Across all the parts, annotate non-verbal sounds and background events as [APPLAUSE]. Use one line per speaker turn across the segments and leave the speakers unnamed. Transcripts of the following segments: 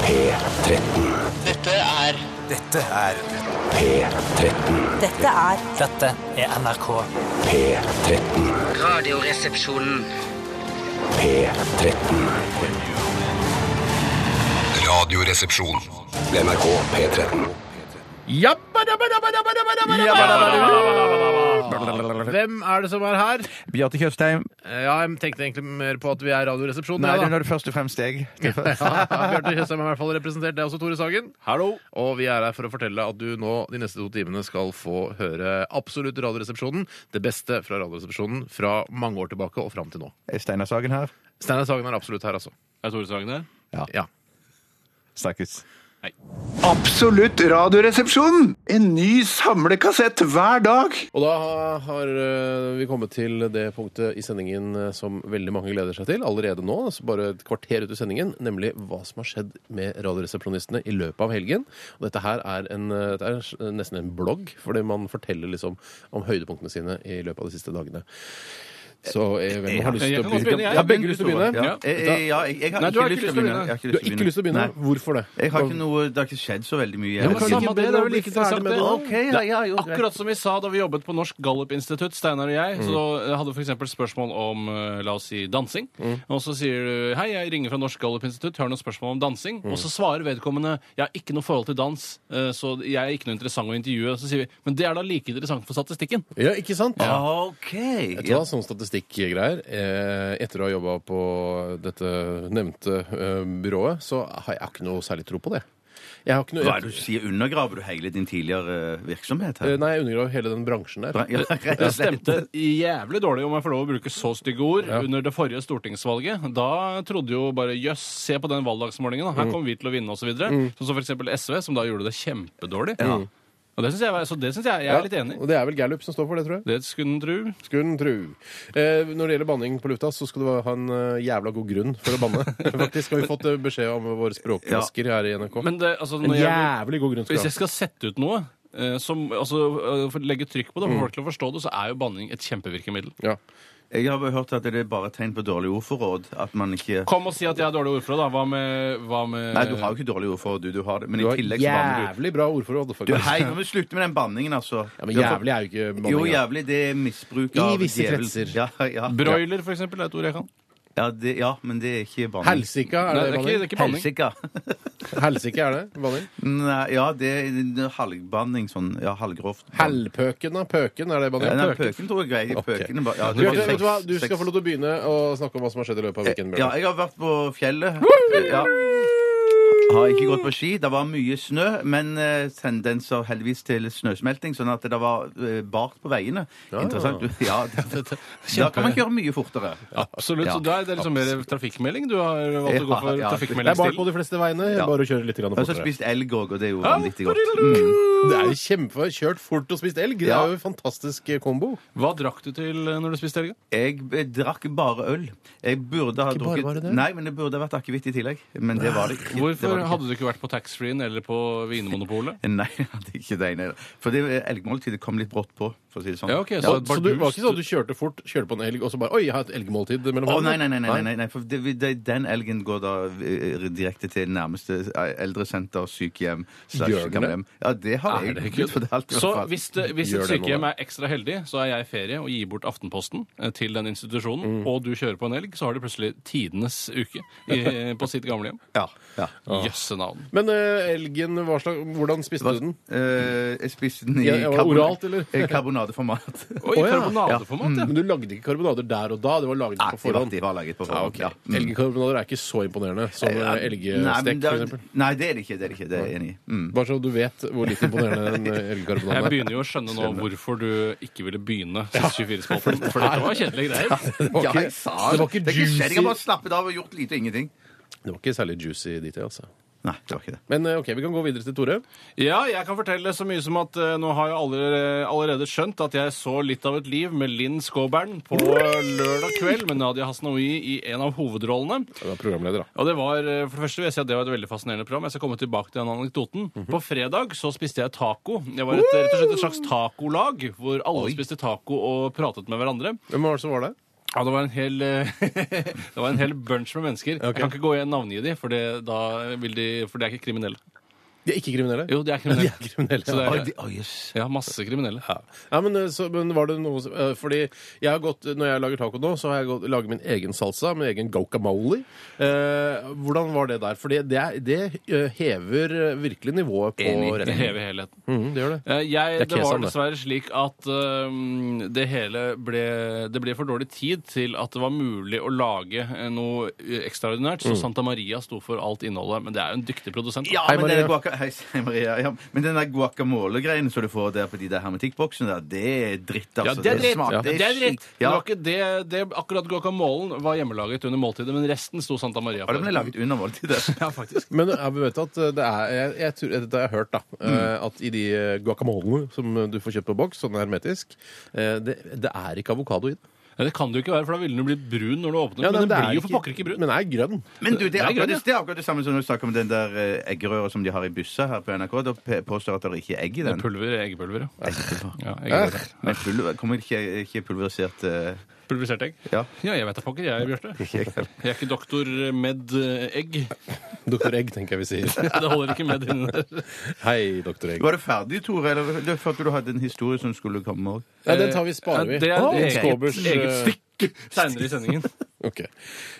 P13.
Dette er
Dette er
P13.
Dette er
Dette er NRK.
P13.
Radioresepsjonen.
P13.
Radioresepsjon.
NRK P13.
Hvem er det som er her? Eh,
Bjarte Tjøstheim.
Ja, jeg tenkte egentlig mer på at vi er Radioresepsjonen.
Nei,
ja,
det
da.
når du først og fremst jeg.
[LAUGHS] Ja, Bjarte Tjøstheim er i hvert fall representert. Det er også Tore Sagen. Hallo. Og vi er her for å fortelle at du nå de neste to timene skal få høre absolutt Radioresepsjonen. Det beste fra Radioresepsjonen fra mange år tilbake og fram til nå.
Er Steinar Sagen her.
Steinar Sagen er absolutt her, altså.
Er Tore Sagen der?
Ja.
Snakkes.
Absolutt radioresepsjon! En ny samlekassett hver dag!
Og da har eh, vi kommet til det punktet i sendingen eh, som veldig mange gleder seg til allerede nå, altså bare et kvarter ut i sendingen, nemlig hva som har skjedd med radioresepsjonistene i løpet av helgen. Og dette her er, en, eh, dette er s- nesten en blogg, fordi man forteller liksom om høydepunktene sine i løpet av de siste dagene. Så eh, hvem har lyst til
jeg
å
kan godt begynne, jeg.
begynne? Har begge lyst til å begynne?
Ja.
Jeg, jeg, ja, jeg, jeg har
Nei, du
ikke
har
lyst til å begynne. Jeg har
ikke
Du har ikke lyst til å begynne?
Nei.
Hvorfor det?
Jeg har ikke noe, det har ikke skjedd så veldig mye. Jeg,
men
har
samme
ikke-
det, det er vel like interessant det.
Ok, ja, ja, jo, greit.
Akkurat som vi sa da vi jobbet på Norsk Gallup-institutt, Steinar og jeg, så hadde vi f.eks. spørsmål om eh, la oss si dansing. Og så sier du hei, jeg ringer fra Norsk Gallup-institutt, har du noen spørsmål om dansing? Og så svarer vedkommende jeg har ikke noe forhold til dans, eh, så jeg er ikke noe interessant å intervjue. Og så sier vi men det er da like interessant for statistikken.
Ja, ikke sant?
Ok.
Jeg
Ja.
tror det er sånn statistikkgreier. Eh, etter å ha jobba på dette nevnte eh, byrået, så har jeg ikke noe særlig tro på det. Jeg har ikke noe...
Hva er det du sier? Undergraver du hele din tidligere eh, virksomhet
Eh,
her?
Nei, jeg undergraver hele den bransjen der.
Ja, rett
Det
og slett.
stemte jævlig dårlig, om jeg får lov å bruke så stygge ord, under det forrige stortingsvalget. Da trodde jo bare jøss, se på den valgdagsmålingen, da. her kommer vi til å vinne, osv. videre Sånn som for eksempel SV, som da gjorde det kjempedårlig. Og det synes jeg, var- så det syns jeg jeg er litt enig
Ja,
i.
og det er vel Gallup som står for det, tror jeg.
Det skulle en tru.
Skulle en tru. Eh, når det gjelder banning på lufta, så skal du ha en eh, jævla god grunn for å
[LAUGHS]
banne. Faktisk har vi fått eh, beskjed om våre språkmasker her i NRK.
Men det, altså,
en
når jeg,
jævlig god grunn
hvis
skal du
jeg
ha.
skal sette ut noe eh, som, altså, eh, for å legge trykk på det, for folk til å forstå det, så er jo banning et kjempevirkemiddel.
Ja.
Jeg har hørt at det er bare tegn på dårlig ordforråd. At man ikke
Kom og si at jeg har dårlig ordforråd, da. Hva med, hva med
Nei, du har jo ikke dårlig ordforråd, du. du har det. Men
Du
i
har
tillegg så banner du.
jævlig bra ordforråd.
du
faktisk.
hei, nå må du slutte med den banningen, altså.
Ja, men jævlig er jo ikke banning.
Jo,
da.
jævlig. Det er
I
misbruk av
visse
djevel.
kretser.
Ja, ja.
Broiler, for eksempel, er et ord jeg kan.
Ja, det, ja, men det er ikke banning.
Helsika,
Nei,
er
det er
det
ikke, det er
banning?
ikke banning.
Helsika.
Helsike, er det banning?
[LAUGHS] Nei, ja, det er halvbanning. Sånn, ja, halvgrovt.
Hellpøken, da? Pøken, er det
Ja,
banning?
nei,
Pøken.
pøken tror jeg er grei.
Ok.
Pøken er bare- ja,
Du,
det var
vet du hva?
sex-
du skal
sex.
få lov til å begynne å snakke om hva som har skjedd i løpet av weekenden.
Eh, Ja,
Bjørte.
jeg har vært på fjellet. Ja. Har ikke gått på ski. Det var mye snø, men eh, tendenser heldigvis til snøsmelting, sånn at det var eh, bart på veiene. Interessant. [LAUGHS] Ja,
[LAUGHS]
det, da kan man kjøre mye fortere.
Absolutt.
Ja.
Så der, det er liksom mer trafikkmelding. Du har valgt å gå for
Ja, ja.
Det
trafikkmelding
er bart på
stille.
de fleste veiene.
Ja.
Bare å kjøre litt grann
Og så har jeg
fortere.
spist elg òg, og det er jo
Ja,
vanvittig godt. Mm.
Det er jo kjempe Kjørt fort og spist elg. Det
Ja.
er jo en fantastisk eh, kombo.
Hva drakk du til eh, når du spiste helga?
Jeg eh, drakk bare øl. Jeg burde ha
Ikke bare var det
drukket
det?
Nei, men det burde ha vært akevitt i tillegg. Men det var det ikke. det var
Hvorfor
det ikke.
hadde du ikke vært på taxfree-en eller på Vinmonopolet?
[LAUGHS] Nei, jeg hadde ikke det ene. For det eh, elgmåltidet kom litt brått på, for å si det sånn.
Ja, ok,
Så,
så,
så du var ikke sånn at du kjørte fort, kjørte på en elg, og så bare Oi, jeg har et elgmåltid mellom
Å, nei, nei, nei, nei, nei, nei, for det, det, den elgen går da eh, direkte til nærmeste eh, eldresenter, sykehjem, slash
Gjør den det?
gamlehjem. Ja, det har
Er
jeg.
det
blitt fortalt, i hvert
Så
fall.
hvis, det, hvis et
Gjør det nå,
sykehjem
da.
er ekstra heldig, så er jeg i ferie og gir bort Aftenposten eh, til den institusjonen, og du kjører på en elg, så har de plutselig tidenes uke i, på sitt gamlehjem.
Ja, ja.
Jøsse navn.
Men eh, elgen, hva slags, hvordan spiste du den?
Eh, jeg spiste den i
Ja, var det oralt, eller?
eh, karbonadeformat.
Og
Å,
i
ja. Mm.
karbonadeformat, ja.
Men du lagde ikke karbonader der og da? Det var laget
Nei,
på
de var,
forhånd?
de var laget på
Ja,
forhånd.
ok.
Ja, Mm.
Elgkarbonader er ikke så imponerende som eh,
Ja, nei, men
elgstek,
det-
f.eks.
Nei, det er det ikke. Det er det ikke, det er jeg enig i. Mm.
Bare så du vet hvor litt imponerende en
[LAUGHS]
eh,
Jeg
elgkarbonade er.
begynner jo å skjønne nå hvorfor du ikke ville begynne 24-spalten, for dette var kjedelige greier.
Det var
Ja, jeg
ikke,
sa
det var ikke
Det er ikke skjedd. Jeg har
juicy
bare slappet av og gjort lite og ingenting.
Det var ikke særlig juicy dit, altså.
Nei, det var ikke det.
Men eh, ok, vi kan gå videre til Tore.
Ja, jeg kan fortelle så mye som at eh, nå har jeg allerede, allerede skjønt at jeg så litt av et liv med Linn Skåbern på lørdag kveld med Nadia Hasnaoui i en av hovedrollene.
Du er programleder, da.
Og det var, eh, for det første vil jeg si at det var et veldig fascinerende program. Jeg skal komme tilbake til den anekdoten.
Mhm.
På fredag så spiste jeg taco. Jeg var et, rett og slett et slags tacolag hvor alle spiste taco og pratet med hverandre.
Hvem var det som var der?
Ja, det var en hel, [LAUGHS] det var en hel bunch med mennesker. Jeg kan ikke gå igjen navngi de, for det, da vil de, for de er ikke kriminelle.
De er ikke kriminelle?
Jo, de er
Ja,
kriminelle.
de er kriminelle,
Så det
ja.
er,
Oi, de- oi, jøss.
ja, masse kriminelle.
Ja. Ja, men, eh, så, men var det noe som eh, Fordi jeg har gått, når jeg lager taco nå, så har jeg gått, laget min egen salsa, min egen guacamole. Eh, hvordan var det der? Fordi det, er- det eh, hever eh, virkelig nivået på
Enig.
Det
retten.
hever helheten.
Mhm, det gjør det.
Eh,
Det er
Jeg, det, var
kesam, det.
dessverre slik at øhm, det hele ble Det ble for dårlig tid til at det var mulig å lage eh, noe eh, ekstraordinært. Så Santa Maria sto for alt innholdet. Men det er jo en dyktig produsent. da.
Ja,
Hei,
men
Maria.
den guaca- Hei, hei, Maria. Ja, men den der guacamole-greien som du får der på de der hermetikkboksene, der, det er dritt, altså.
Ja, det er dritt!
smaker-
Ja, det er dritt.
skitt.
Det
Ja.
var ikke det, det akkurat guacamolen var hjemmelaget under måltidet, men resten sto Santa Maria
Ja, det ble
for.
laget under måltidet.
[LAUGHS] Ja, faktisk.
Men jeg vet at eh, det er jeg, jeg tror, Dette har jeg hørt, da. eh, At i de guacamolene som du får kjøpt på boks, sånn hermetisk, eh, det, det er ikke avokado i det.
Ja, det kan det jo ikke være, for da ville den blitt brun når du åpner.
Ja,
men den
det er
blir jo for
ikke-
pokker ikke brun.
Men den er grønn.
Men du, det
Det
er
er greit,
akkurat
ja.
det, er akkurat det samme som når du snakker om den der eh, eggerøra som de har i busser her på NRK. Da pe- påstår at det ikke er egg i den.
Pulver, eggepulver, ja. ja
Eh.
eggepulver.
Men pulver, kommer ikke, ikke pulverisert eh,
Pulverisert egg?
Ja.
jeg vet da pokker, jeg, Bjarte. Jeg er ikke doktor med eh, egg.
Doktor Egg, tenker jeg vi
[LAUGHS]
sier.
Det holder ikke med [LAUGHS] din
Hei, doktor Egg.
Var du ferdig, Tore? Eller det følte du hadde en historie som skulle komme? også?
Nei, den tar vi, sparer vi.
Det er
Å,
et
Skåbers,
eget, eget
eh,
stykke seinere i [LAUGHS] sendingen.
Ok.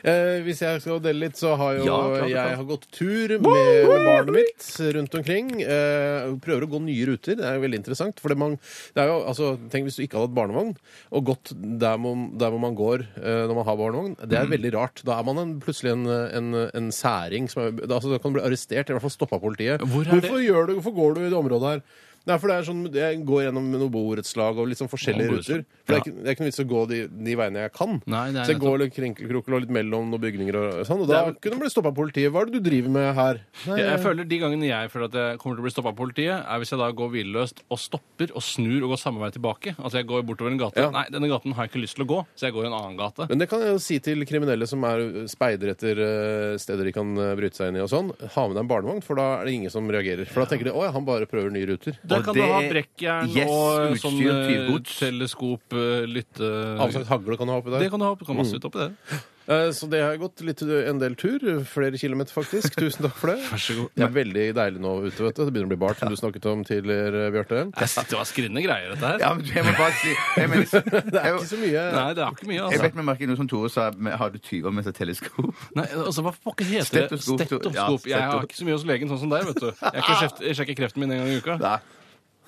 Eh, hvis jeg skal dele litt, så har jo
Ja, klart du kan.
jeg har gått tur med, med barnet mitt rundt omkring. Eh, prøver å gå nye ruter. Det er jo veldig interessant. For det, man, det er jo, altså, tenk hvis du ikke hadde hatt barnevogn, og gått der, man, der hvor man går eh, når man har barnevogn. Det
Mm.
er veldig rart. Da er man en, plutselig en, en, en særing. Som er, da- altså, da kan du bli arrestert, eller i hvert fall stoppa av politiet.
Hvor er det?
hvorfor, Gjør du, hvorfor går du i det området her? Nei, for det er sånn, Jeg går gjennom noe borettslag og litt sånn forskjellige
Ja, borettslag.
ruter. For det, er ikke, det er ikke noe vits å gå de, de veiene jeg kan.
Nei, det er
så jeg
nettopp.
går litt krinkelkrokkel og litt mellom noen bygninger og sånn. Og da kunne man bli stoppa av politiet. Hva er det du driver med her? Nei,
Jeg føler De gangene jeg føler at jeg kommer til å bli stoppa av politiet, er hvis jeg da går hvilløst og stopper og snur og går samme vei tilbake. Altså jeg går bortover en gate.
Ja.
Nei, denne gaten har jeg ikke lyst til å gå, så jeg går i en annen gate.
Men det kan jeg jo si til kriminelle som er speider etter eh, steder de kan eh, bryte seg inn i og sånn. Ha med deg en barnevogn, for da er det ingen som reagerer. For da tenker de å ja, han bare prøver nye ruter.
Der
Og
kan
det-
du ha brekkjern
Yes,
og sånn
utstyr,
eh,
tyvegods.
teleskop, eh, lytte...
Avsagt hagle kan du ha oppi der.
Det kan du ha, du kan masse ut oppi det.
Eh, Så det har gått litt, eh, en del tur. Flere kilometer, faktisk. Tusen takk for det.
[LAUGHS] Vær så god.
Det er veldig deilig nå ute, vet du. Det begynner å bli bart, som du snakket om tidligere, eh, Bjarte.
Det var skrinne greier, dette her.
Ja, men jeg må bare si jeg mener,
[LAUGHS] Det er ikke
jeg,
så mye
Nei, det er ikke mye,
jeg
altså.
vet med merker noe som Tore sa, men har du tyver med seg teleskop?
Nei, altså, Hva pokker heter det?
Stetoskop, tror-
Stetoskop. Jeg
ja, steto-
har ikke så mye hos legen, sånn som deg. vet du. Jeg, er ikke kreft, jeg sjekker kreften min en gang i uka.
Nei.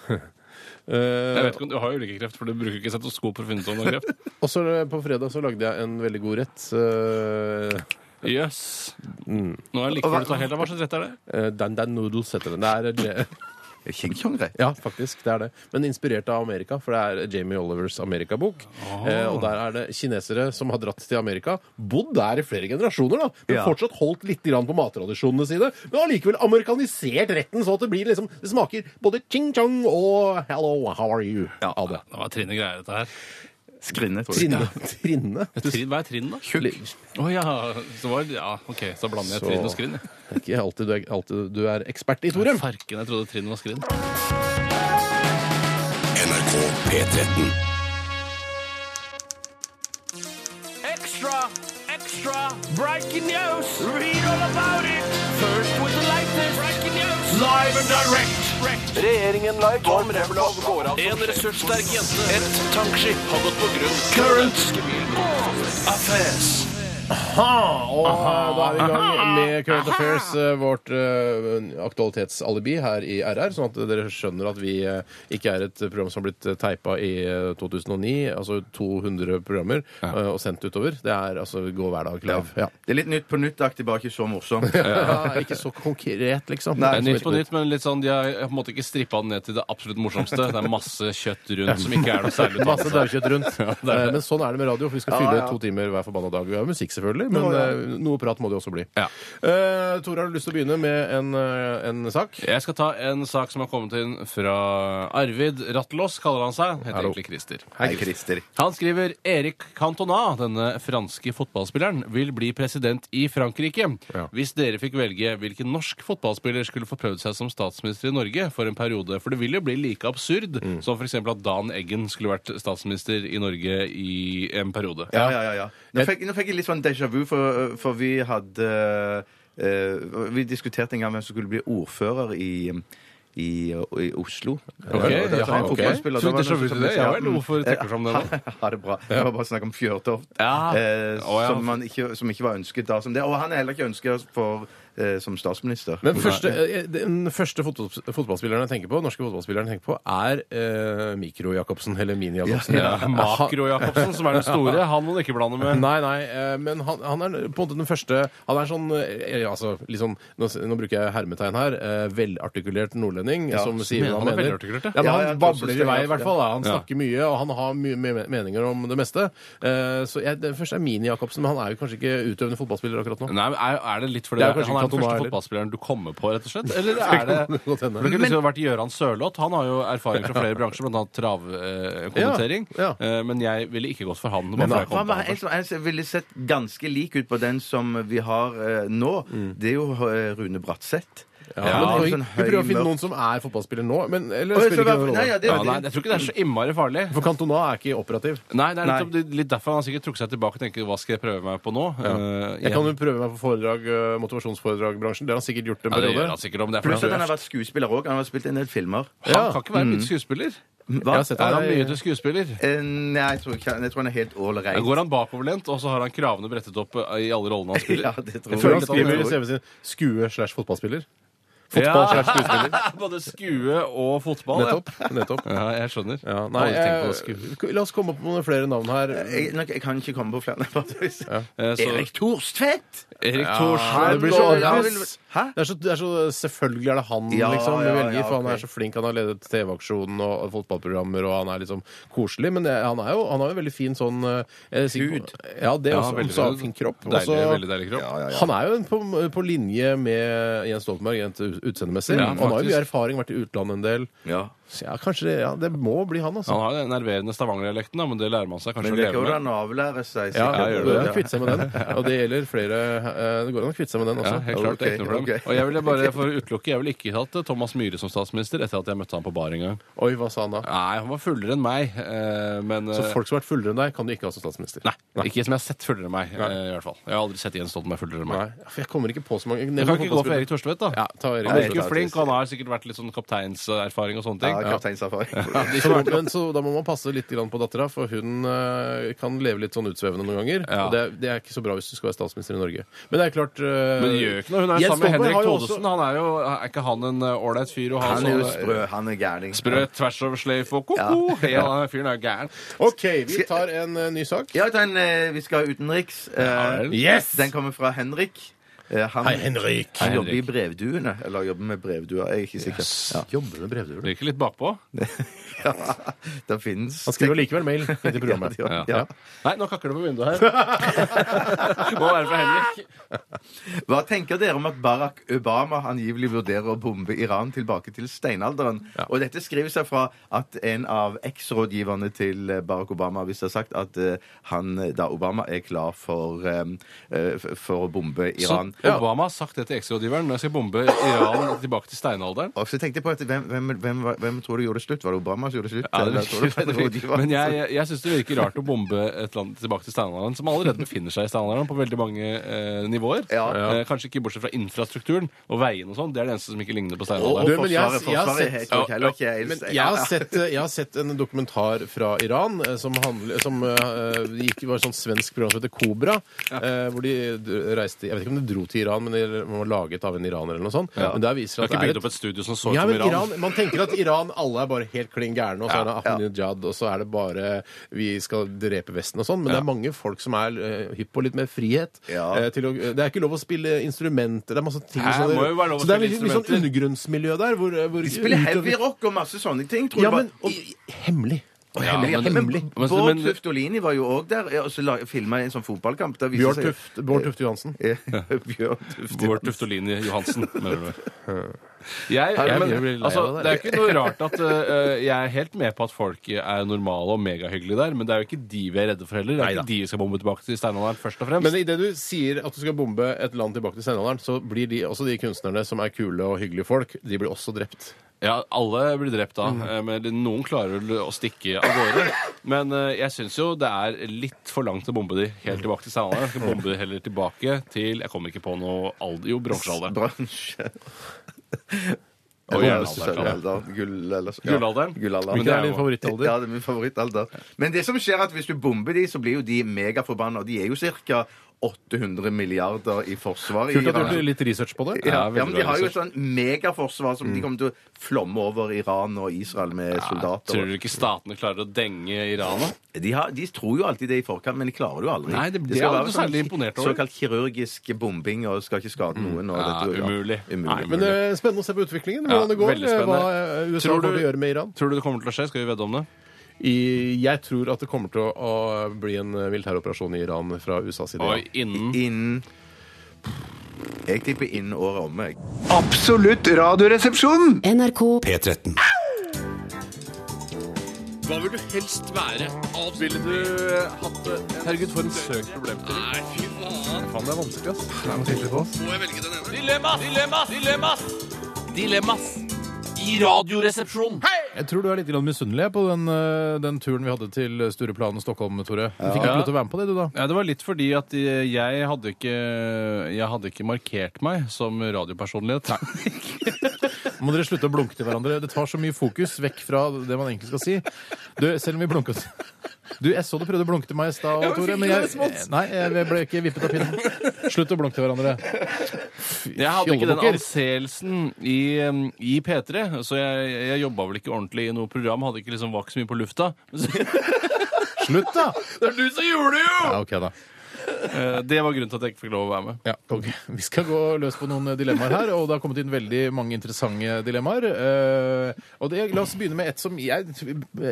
Jeg
Eh,
vet ikke om Du har jo ulike kreft, for du bruker ikke stetoskop for å finne ut om du har kreft.
Og så eh, på fredag så lagde jeg en veldig god rett. eh,
Jøss. Nå er jeg like før du tar helt av. Hva slags rett er det?
eh, Dan Dan Noodles heter den. Det er, eh, [LAUGHS]
King Kong-rett.
ja, faktisk. det er det. Men inspirert av Amerika, for det er Jamie Olivers Amerika-bok.
Ah.
Eh, og der er det kinesere som har dratt til Amerika. Bodd der i flere generasjoner, da. Men
Ja.
fortsatt holdt litt grann på mattradisjonene sine. Men allikevel amerikanisert retten så at det blir liksom Det smaker både ching-chong og hello, how are you?
Ja.
av det.
Det var trinne greier, dette her.
Skrinne, tror jeg.
Trinne. [LAUGHS] Trinne.
Trinn, hva er trinn, da?
Tjukk.
Å ja. Så var, ja. OK, så blander jeg
Så-
trinn og skrinn. jeg.
Det er ikke alltid du er, alltid du er ekspert i, Torem.
Farken, jeg trodde trinn var skrinn.
NRK P13.
Extra, extra, breaking news. Read all about it. First with the latest. Breaking news. Live and direct.
Regjeringen live går med
En ressurssterk jente. Et tankskip har gått på grunn. Current. Affairs.
Og da er vi i gang med Current Affairs, eh, vårt eh, aktualitetsalibi her i RR. Sånn at dere skjønner at vi eh, ikke er et program som har blitt eh, teipa i eh, 2009. Altså 200 programmer eh, og sendt utover. Det er altså gå hver dag live. Ja.
Det er litt nytt på nytt-aktig, bare ikke så morsomt.
Ja, ikke så konkret, liksom.
Det er nytt på nytt, men litt sånn, de har på en måte ikke strippa den ned til det absolutt morsomste. Det er masse kjøtt rundt som ikke er noe særlig. å ta med
Masse
seg. [LAUGHS]
daukjøtt rundt. Eh, Men sånn er det med radio, for vi skal
Ja,
fylle
ja.
to timer hver forbanna dag. Vi har jo musikk selvfølgelig, men eh, noe prat må det jo også bli.
Ja.
Eh, Tor, har du lyst til å begynne med en, eh, en sak?
Jeg skal ta en sak som har kommet inn fra Arvid Rattlås, kaller han seg. Heter
Hallo.
egentlig Christer.
Hei, Christer.
Han skriver Erik Cantona, denne franske fotballspilleren, vil bli president i Frankrike.
Ja.
Hvis dere fikk velge hvilken norsk fotballspiller skulle få prøvd seg som statsminister i Norge for en periode, for det vil jo bli like absurd
Mm.
som for eksempel at Dan Eggen skulle vært statsminister i Norge i en periode.
Ja, ja, ja, ja. Nå, fikk, nå fikk jeg litt sånn déjà vu, for, for vi hadde eh, Vi diskuterte en gang hvem som skulle bli ordfører i i, i Oslo.
Ok,
Eh, og det var
jaha,
en
ok.
fotballspiller.
Så
Da var
déjà
det noen
vu
som-
til det? Ja
Ja,
vel,
mm.
hvorfor trekker du fram det nå?
[LAUGHS] Ha det bra. Det var bare snakk om Fjørtoft,
Ja.
eh,
Å, ja.
som, man ikke, som ikke var ønsket da som det. Og han er heller ikke ønsket for, eh, som statsminister.
Den første, eh, den første fotball- fotballspilleren jeg tenker på, norske fotballspilleren jeg tenker på, er eh, Mikro-Jacobsen, eller Mini-Jacobsen.
Ja,
[LAUGHS]
Makro-Jacobsen, som er den
[LAUGHS]
store, han må du ikke blande med.
Nei, nei, eh, men han, han er på en måte den første Han er sånn eh, altså, liksom, nå, s- nå bruker jeg hermetegn her. Eh, velartikulert nordlending som sier
mener
hva
han
han
er
mener.
velartikulert, ja?
Ja, men
Ja,
han
jeg tror også
babler
det
i vei, i
er
hvert fall. Da. Han
ja.
snakker mye, og han har mye me- meninger om det meste. Eh, så jeg, Den første er Mini-Jacobsen, men han er jo kanskje ikke utøvende fotballspiller akkurat nå.
Nei, men er, er det litt fordi
Det er
han
kanskje ikke
er den første
Cantona heller.
fotballspilleren du kommer på, rett og slett?
[LAUGHS]
Eller er det
kan det godt hende.
For Det kunne liksom vært Gøran Sørloth. Han har jo erfaring
[LAUGHS]
fra flere bransjer, bl.a. travkommentering.
Ja,
eh, Men jeg ville ikke gått for han. bare
Men
fordi
hva
jeg kom på
hva med
han
en som en som ville sett ganske lik ut på den som vi har eh, nå? Det er jo eh, Rune Bratseth.
Mm. Ja, men,
Han er
vi,
sånn
vi prøver å
høy,
finne
mørk-
noen som er fotballspiller nå, men eller
Å, jeg
spiller ikke
skal
noen
være- Nei, ja,
rolle.
det er
ja,
jo
nei,
det.
jeg tror ikke det er så innmari farlig.
For Cantona er ikke operativ.
Nei, det er
Nei.
litt, litt derfor han har sikkert trukket seg tilbake og tenker hva skal jeg prøve meg på nå? Eh,
Jeg
igjen.
kan jo prøve meg på foredrag, eh, motivasjonsforedragbransjen. Det har han sikkert gjort en
ja, det gjør
periode.
han sikkert om det er
Pluss
for
at han
han,
har vært skuespiller òg. Han har spilt en del filmer.
Ja. Mm.
kan ikke være blitt skuespiller.
Hva?
Jeg har sett
Er han
Nei.
mye til skuespiller?
Eh, Nei, jeg tror, ikke, han- jeg tror han er helt
Da
ålreit.
går han bakoverlent, og så har han kravene brettet opp eh, i alle rollene han spiller.
[LAUGHS] Ja, det tror
Jeg føler han
jeg.
skriver i CV-en sin skue slash fotballspiller. Fotball slash skuespiller.
[LAUGHS] Både skue og fotball. ja.
Nettopp. nettopp.
Ja, jeg skjønner.
Ja, nei,
Aldri tenkt på skue.
eh, la oss komme opp med noen flere navn her.
Jeg, nok- jeg kan ikke komme på flere. navn.
Eh, så-
Erik Thorstvedt!
Erik
Nei,
Thorsen.
det blir så
Hallo,
obvious.
ja, vil- Hæ?
Det er så, det er så, selvfølgelig er det han
Ja,
liksom, vi
ja,
velger,
ja,
for han
ok.
er så flink. Han har ledet TV-aksjonen og fotballprogrammer, og han er liksom koselig. Men det, han, er jo, han har jo veldig fin sånn Hud. Ja, det
Ja,
også.
veldig,
Veldig, så har han
veldig-
fin kropp.
deilig,
Også-
veldig deilig kropp.
Han er jo på, på linje med Jens Stoltenberg rent ut- utseendemessig.
Ja,
han har jo
faktisk.
mye erfaring, vært i utlandet en del.
Ja.
Så ja, kanskje det, ja, det må bli han, altså.
Han har den nerverende Stavanger-dialekten, da, men det lærer man seg kanskje
Men
å
det
leve
går
med.
an å avlære seg.
Ja,
sikkert.
det
gjør
går
det.
an å kvitte seg med
[LAUGHS]
den. Og det gjelder flere eh, Det går an å kvitte seg med den
Ja,
også.
helt klart, det er
Ok,
ikke noe problem.
ok.
Og jeg ville bare for å utelukke, jeg ville ikke hatt eh, Thomas Myhre som statsminister etter at jeg møtte han på bar en gang.
Oi, hva sa han da?
Nei, han var fullere enn meg, eh, men
Så
eh,
folk som har vært fullere enn deg, kan du ikke ha som statsminister?
Nei, ikke som jeg har sett fullere enn meg, eh, i hvert fall. Jeg har aldri sett Jens Stoltenberg fullere enn meg.
Nei, for jeg kommer ikke på så mange
Jeg kan ikke gå for Erik Thorstvedt, da.
Ja, ta Erik
han
Thorstvedt.
virker jo flink, og han har sikkert vært litt sånn kapteinserfaring og sånne ting.
Ja, kapteinserfaring.
Så, men så da må man passe litt grann på dattera, for hun eh, kan leve litt sånn utsvevende noen ganger.
Ja.
Og det, det er ikke så bra hvis du skal være statsminister i Norge. Men det er klart eh,
Men det gjør jo ikke noe. Hun er
Jens
sammen med
Stoltenberg
Henrik
har jo
Thodesen. Han er jo Er ikke han en eh, ålreit fyr? Og
Han er jo
sånn-
sprø. Han er gærning.
Sprø tvers over sløyf og ko-ko. Ja. den fyren er gæren.
også- OK, vi tar en eh, ny sak.
Ja, den, eh, vi skal utenriks. Eh,
Yes!
Den kommer fra Henrik. Eh, han,
Hei, Henrik.
han
Hei,
jobber i
Henrik.
Brevduene. Eller jobber med brevduer. Jeg er ikke sikker. Ja.
Jobber med brevduer.
Virker litt bakpå.
Ja, [LAUGHS] det finnes
Han skriver likevel mail inn til programmet.
[LAUGHS] Ja, ja.
Ja. Nei, nå kakker det på [LAUGHS] vinduet her. Må være fra Henrik.
Hva tenker dere om at Barack Obama angivelig vurderer å bombe Iran tilbake til steinalderen? Og dette skriver seg fra at en av eksrådgiverne til eh, Barack Obama visst har sagt at eh, han eh, da Obama er klar for, eh, eh, f- for å bombe
Så
Iran.
Obama har sagt det til eksrådgiveren når jeg skal bombe Iran tilbake til steinalderen.
Og så tenkte jeg på at hvem, hvem, hvem, var- hvem tror du gjorde slutt? Var det Obama som gjorde slutt?
Ja, det
Eller tror du [LAUGHS] det var
virker,
rådgiveren?
men jeg, jeg, jeg syns det virker rart å bombe et land tilbake til steinalderen, som allerede befinner seg i steinalderen på veldig mange eh, nivåer.
Ja.
Eh, kanskje ikke bortsett fra infrastrukturen og veiene og sånn. Det er det eneste som ikke ligner på
Og
steinalderen.
Du, men jeg-
forsvaret,
jeg har
forsvaret
sett-
jeg tror heller ikke jeg-
Men jeg har, sett, eh, jeg har sett en dokumentar fra Iran eh, som, handler, som eh, gikk, var et sånt svensk program som heter Kobra. eh, hvor de d- reiste Jeg vet ikke om de dro til Iran, men de var laget av en iraner eller noe sånt. Men der
Du
viser
har
at
ikke
det
bygd
er
opp
et
et studio som så ut
ja,
som
men
Iran.
Iran, Man tenker at Iran alle er bare helt klin gærne, og så er det Ahmadinejad, og så er det bare vi skal drepe Vesten og sånn. Men det er mange folk som er eh, hypp på litt mer frihet.
Ja.
eh, til å, det er ikke lov å spille instrumenter. Det er masse ting
Hæ?
som-
Må jo være lov å
Så det er
spille
litt, litt sånn
instrumenter.
undergrunnsmiljø der. Hvor, hvor
De spiller
utøver-
heavy rock og masse sånne ting. Tror
ja,
jeg
men
bare-
i- i- hemmelig.
hemmelig,
men-
hemmelig.
men-
Bård
men-
Tuftolini var jo òg der ja, og så la- filma en sånn fotballkamp. Der
Bjørn
[LAUGHS]
Tuft, Bård Tufte Johansen.
Bjørn Tuft.
Bård Tuftolini Johansen, [LAUGHS] mener du. Jeg,
jeg
jeg,
blir lei
men,
av
altså,
det
det er ikke noe rart at eh, Jeg er helt med på at folk er normale og megahyggelige der, men det er jo ikke de vi er redde for heller. Det er
Neida.
ikke de vi skal bombe tilbake til steinalderen, først og fremst.
Men idet du sier at du skal bombe et land tilbake til steinalderen, så blir de, også de kunstnerne som er kule og hyggelige folk, de blir også drept.
Ja, alle blir drept da,
Mhm.
eh, men noen klarer vel å stikke av gårde. Men eh, jeg syns jo det er litt for langt å bombe de helt tilbake til steinalderen. Jeg skal bombe de heller tilbake til Jeg kommer ikke på noe alder Jo, bronsealderen.
Bransje.
Og
Sølvalder,
jernalderen.
Gull, eller, ja.
Gullalderen?
Gullalderen.
Men det er din
favorittalder?
Ja, det er min favorittalder. Men det som skjer er at hvis du bomber de, så blir jo de megaforbanna. Og de er jo ca. 800 milliarder i forsvaret. i
Kult at du
Iran.
gjorde litt research på det.
Ja,
Ja, veldig
ja, men de
bra
har jo et
research. Mm.
sånn megaforsvar som de kommer til å flomme over Iran og Israel med soldater.
Tror du ikke statene klarer å denge Iran? da?
De, har, de tror jo alltid det i forkant, men de klarer det jo aldri.
Nei, det- det er
skal
jeg
være sånn
aldri særlig imponert over.
Såkalt kirurgisk bombing og skal ikke skade noen. Og
Ja,
dette-
umulig. eh,
umulig.
Men det er spennende å se på utviklingen,
Ja,
hvordan det går.
veldig spennende.
Hva eh, USA
Tror du-
kommer til å gjøre med Iran.
Tror du det kommer til å skje? Skal vi vedde om det?
I, jeg tror at det kommer til å, å bli en eh, militæroperasjon i Iran fra USAs side.
Oi,
ja.
innen
Innen Jeg tipper innen året omme. jeg.
Absolutt radioresepsjon!
NRK
P13.
Hva vil du helst være? Ville du hatt det? Herregud, for en søk problemstilling. Nei, fy faen.
Faen, det er vanskelig, ass.
Må jeg velge den ene? Dilemmas! Dilemmas! Dilemmas! Dilemmas! I Radioresepsjonen!
Jeg tror du er litt grann misunnelig på den, eh, den turen vi hadde til Stureplan og Stockholm, Tore. Du fikk ikke lov til å være med på det, du, da.
Ja, Det var litt fordi at eh, jeg hadde ikke, jeg hadde ikke markert meg som radiopersonlighet.
[LAUGHS] Må dere slutte å blunke til hverandre. Det tar så mye fokus vekk fra det man egentlig skal si. Du, selv om vi blunket [LAUGHS] Du, jeg så du prøvde å blunke til meg i stad, Tore, men jeg, nei, jeg ble ikke vippet av pinnen. Slutt å blunke til hverandre.
Jeg hadde ikke den
Fjollebukker.
anseelsen i, em, i P3, så jeg, jeg jobba vel ikke ordentlig i noe program. Hadde ikke liksom var ikke så mye på lufta. [LAUGHS] Men så-
Slutt, da!
Det er du som gjorde det, jo!
Ja, OK, da.
Eh, Det var grunnen til at jeg ikke fikk lov å være med.
Ja, ok. Vi skal gå løs på noen dilemmaer her, og det har kommet inn veldig mange interessante dilemmaer. Eh, og det, La oss begynne med et som jeg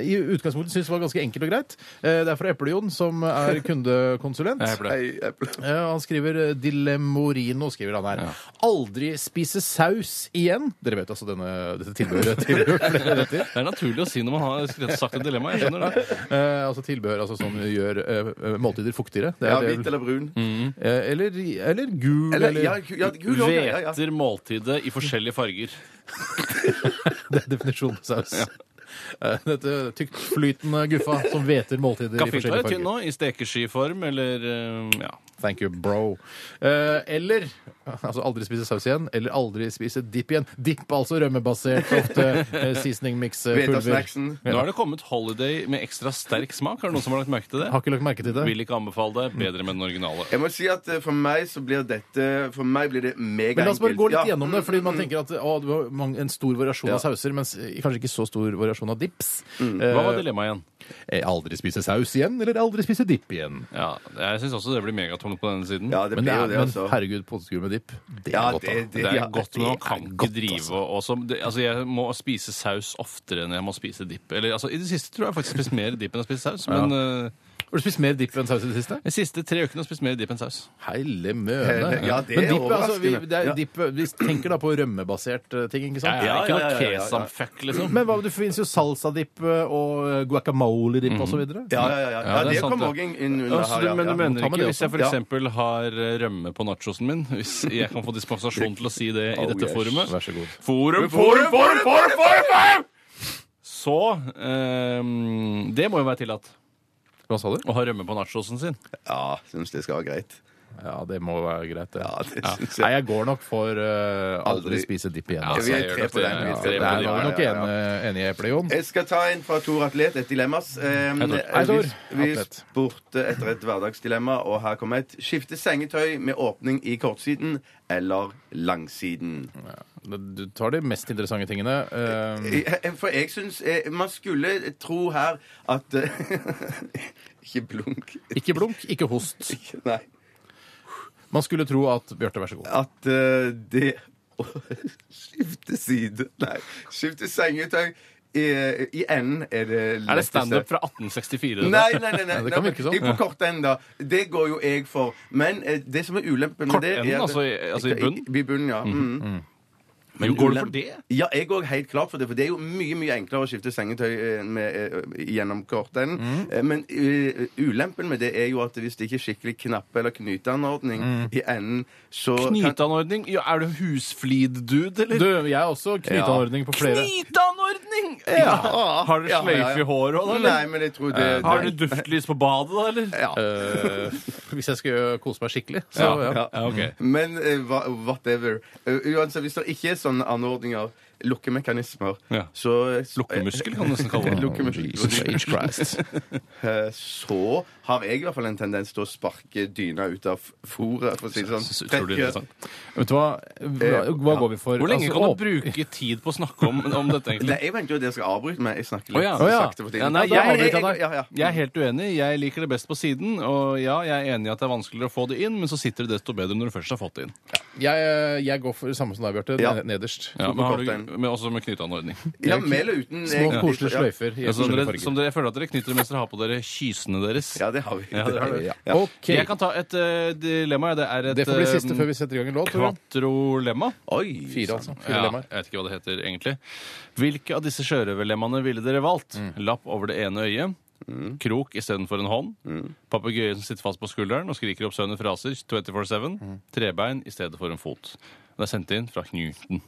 i utgangspunktet syns var ganske enkelt og greit. Eh, det er fra Eple-Jon, som er kundekonsulent.
Jeg ble.
Hei, jeg-
Eh, han skriver Dilemorino, skriver han her. Aldri spise saus igjen. Dere vet altså denne, dette tilbehøret
[LAUGHS]
til flere retter.
Det er naturlig å si når man har skrevet sagt et dilemma. Jeg skjønner det.
Eh, altså tilbehør altså, som gjør eh, måltider fuktigere. Det er
Ja,
det-
hvit eller brun.
Eh, eller, eller gul,
Eller,
eller,
ja, gu- ja, gul også, ja, ja.
Hveter måltidet i forskjellige farger.
[LAUGHS] Det er definisjonen på saus. [LAUGHS] Eh, Dette tyktflytende guffa som hveter måltider i
Kaffehytta
forskjellige
er tynn
farger.
nå, i stekeskyform eller eh, ja.
Thank you, bro. Eh, eller altså aldri spise saus igjen, eller aldri spise dipp igjen. Dipp altså rømmebasert, ofte eh, seasoning mix eh, pulver.
Hvetasnacksen.
Nå er det kommet Holiday med ekstra sterk smak. Har det noen som har lagt merke til det?
Har ikke lagt merke til det.
Vil ikke anbefale det. Bedre med den originale.
Jeg må si at eh, for meg så blir dette For meg blir det megaenkelt.
Men la oss bare gå litt
Ja,
gjennom det, fordi man tenker at å, det var mange, en stor variasjon av sauser, mens eh, kanskje ikke så stor variasjon av dips.
Hva var dilemmaet igjen?
Eh, aldri spise saus igjen, eller aldri spise dipp igjen.
Ja, jeg syns også det blir megatungt på denne siden.
Ja, det
Men, det
blir jo
er,
det,
men
altså.
herregud, påskegull med dipp, det er
Ja,
godt, da.
det- det-
Det er
ja,
godt, men man kan
er
ikke
godt,
drive
altså.
og som- det, altså, Jeg må spise saus oftere enn jeg må spise dipp. Eller, altså, I det siste tror jeg faktisk jeg har spist mer dipp enn jeg har spist saus. Men eh,
Har du spist mer dipp enn saus i det siste?
de siste tre ukene har jeg spist mer dipp enn saus.
Heile møne.
Hele- ja, det er
Men dipp, altså, vi,
overraskende.
det er,
Ja.
dipp, vi tenker da på rømmebasert eh, ting, ikke sant?
Jeg er ikke
ja, ja,
noe
ja, ja, ja.
kesam-fuck, liksom.
Men hva, det finnes jo salsadipp eh, og guacamole-dipp og så videre.
Ja, ja, ja. ja.
Ja, det er
det
sant,
kommer
det.
òg inn
Ja,
under
så du,
her. ja,
men du
ja.
mener
ta med
ikke
det
hvis jeg
også.
Ja.
f.eks. har eh, rømme på nachosen min? Hvis jeg kan få dispensasjon til å si det
[LAUGHS] Oh,
i dette forumet?
Vær så god.
Forum, forum, forum, forum, forum, forum! Så eh, Det må jo være tillatt.
Hva sa du?
Å ha rømme på nachosen sin.
Ja, syns det skal være greit.
Ja, det må være greit, det.
Ja, det synes
Nei, jeg går nok for eh, aldri
Aldri.
spise dipp igjen.
Ja,
altså.
vi er
jeg gjør
tre
nok
på
det. Ja,
den. Vi er
Der
tre
tre
er
på den,
vi
ja,
nok
ja, ja.
en- enige, Eplejon.
Jeg skal ta en fra Tor Atlet, et dilemmas. Eh,
Hei, Tor.
Vi, vi
Atlet.
spurte etter et hverdagsdilemma, og her kommer et. Skifte sengetøy med åpning i kortsiden eller langsiden?
Mm. Du tar de mest interessante tingene. eh,
Eh, For jeg syns eh, Man skulle tro her at eh, [LAUGHS] Ikke blunk. [LAUGHS]
ikke blunk, ikke host.
Ikke- Nei.
Man skulle tro at Bjarte, vær så god.
At [LAUGHS] eh, det Å skifte side Nei, skifte sengetøy I, i enden er det
Er det
letteste.
standup fra 1864? det der?
Nei, nei, nei. nei,
det kan
nei,
virke sånn.
Jeg er på kort enden, da. Det går jo jeg for. Men eh, det som er ulempen med det
Kortenden,
er at-
altså i- altså i bunnen?
I, bunnen, ja. Mm.
Men går det for det?
Ja, jeg går helt klart for det. For det er jo mye mye enklere å skifte sengetøy eh, med, eh, gjennom kortenden.
Mhm.
Eh, Men eh, ulempen med det er jo at hvis det ikke er skikkelig knappe- eller knyteanordning
Mhm.
i enden, så kan-
Knyteanordning? Ja, er du husflid-dude, eller?
Du, jeg er også knyteanordning på flere.
Knyteanordning! Ja. [LAUGHS] Har dere
Ja,
sløyfe
ja, ja.
i håret òg, eller?
Nei, men jeg tror det,
Har dere duftlys på badet, da, eller?
ja.
Eh, hvis jeg skal kose meg skikkelig, så ja.
Ja, ok.
Men eh, hva- whatever. Eh, uansett, hvis det ikke er sånne anordninger, lukkemekanismer,
Ja.
så eh,
Lukkemuskel kan du nesten kalle det.
Jesus
Lukkemuskel.
H. Christ.
[LAUGHS] Eh, Så har jeg i hvert fall en tendens til å sparke dyna ut av fòret, for å si det sånn.
Så utrolig interessant.
Vet du hva? Hva, hva går vi for?
Eh, Hvor lenge
Altså,
kan
åp-
du bruke tid på å snakke om, om dette, egentlig?
Nei, jeg venter jo at dere skal avbryte meg. Jeg snakker litt
Å ja.
så
Å ja.
sakte for tiden.
Ja, nei,
Ja,
jeg-
jeg-
jeg-
jeg- ja, ja.
Jeg er helt uenig. Jeg liker det best på siden. Og ja, jeg er enig i at det er vanskeligere å få det inn, men så sitter det desto bedre når du først har fått det inn.
Jeg, eh, jeg går for det samme som deg, Bjarte.
Ja.
ned- Nederst.
Ja, men har du,
korteren.
men også med
[LAUGHS]
knyteanordning.
Ja, med eller uten eh,
Små,
egentlig.
koselige sløyfer i
Ja, som
forskjellige
Altså, dere,
farger.
som dere, jeg føler at dere knytter det mens dere har på dere kysene deres.
Ja, det har vi.
Ja, det har vi.
Ja.
OK.
Jeg kan ta et eh, dilemma. ja. Det er et
Det får bli siste
eh,
før vi setter i gang en låt. tror jeg.
Quattrolemma?
Oi! sånn.
Fire, altså. Fire
Ja, jeg
lemmer.
vet ikke hva det heter egentlig. Hvilke av disse sjørøverlemmene ville dere valgt? Lapp over det ene øyet. Krok istedenfor en hånd. Papegøyen som sitter fast på skulderen og skriker oppsøkende fraser 24-7. Trebein i stedet for en fot. Det er sendt inn fra Knuten.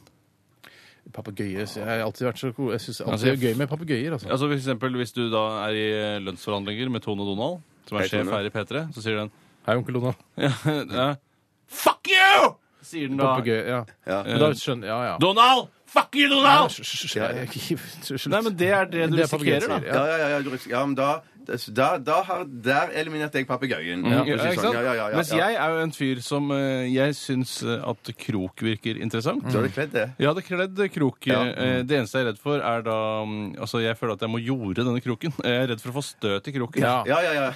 Papegøye. så Jeg har alltid vært så ko- Jeg syns
Altså,
alltid det er
jeg-
gøy med papegøyer. Altså.
Altså for eksempel, Hvis du da er i eh, lønnsforhandlinger med Tone Donald, som er
Hei, Tone.
sjef her i P3, så sier den
Hei, onkel Donald.
ja, Fuck you! Sier den da.
Papegøye. Ja.
Ja.
Men da skjønner Ja, ja.
Donald! Fuck you, Donald! Nei,
Nei,
men det er det du
Det er papegøyen
risikerer, da.
sier,
Ja, ja, ja, ja, du risker- ja men da, da, da har, Der eliminerte jeg papegøyen.
Mm. Ja,
for å si
ikke
sånn.
sant?
Ja, ja, ja, ja,
Mens
ja.
jeg er jo en fyr som eh, Jeg syns eh, at krok virker interessant.
Så har du kledd det.
Jeg hadde kledd krok.
Mm. Ja.
eh, Det eneste jeg er redd for, er da mm, Altså, jeg føler at jeg må jorde denne kroken. [LAUGHS] Jeg er redd for å få støt i kroken.
Ja.
Ja, ja, ja.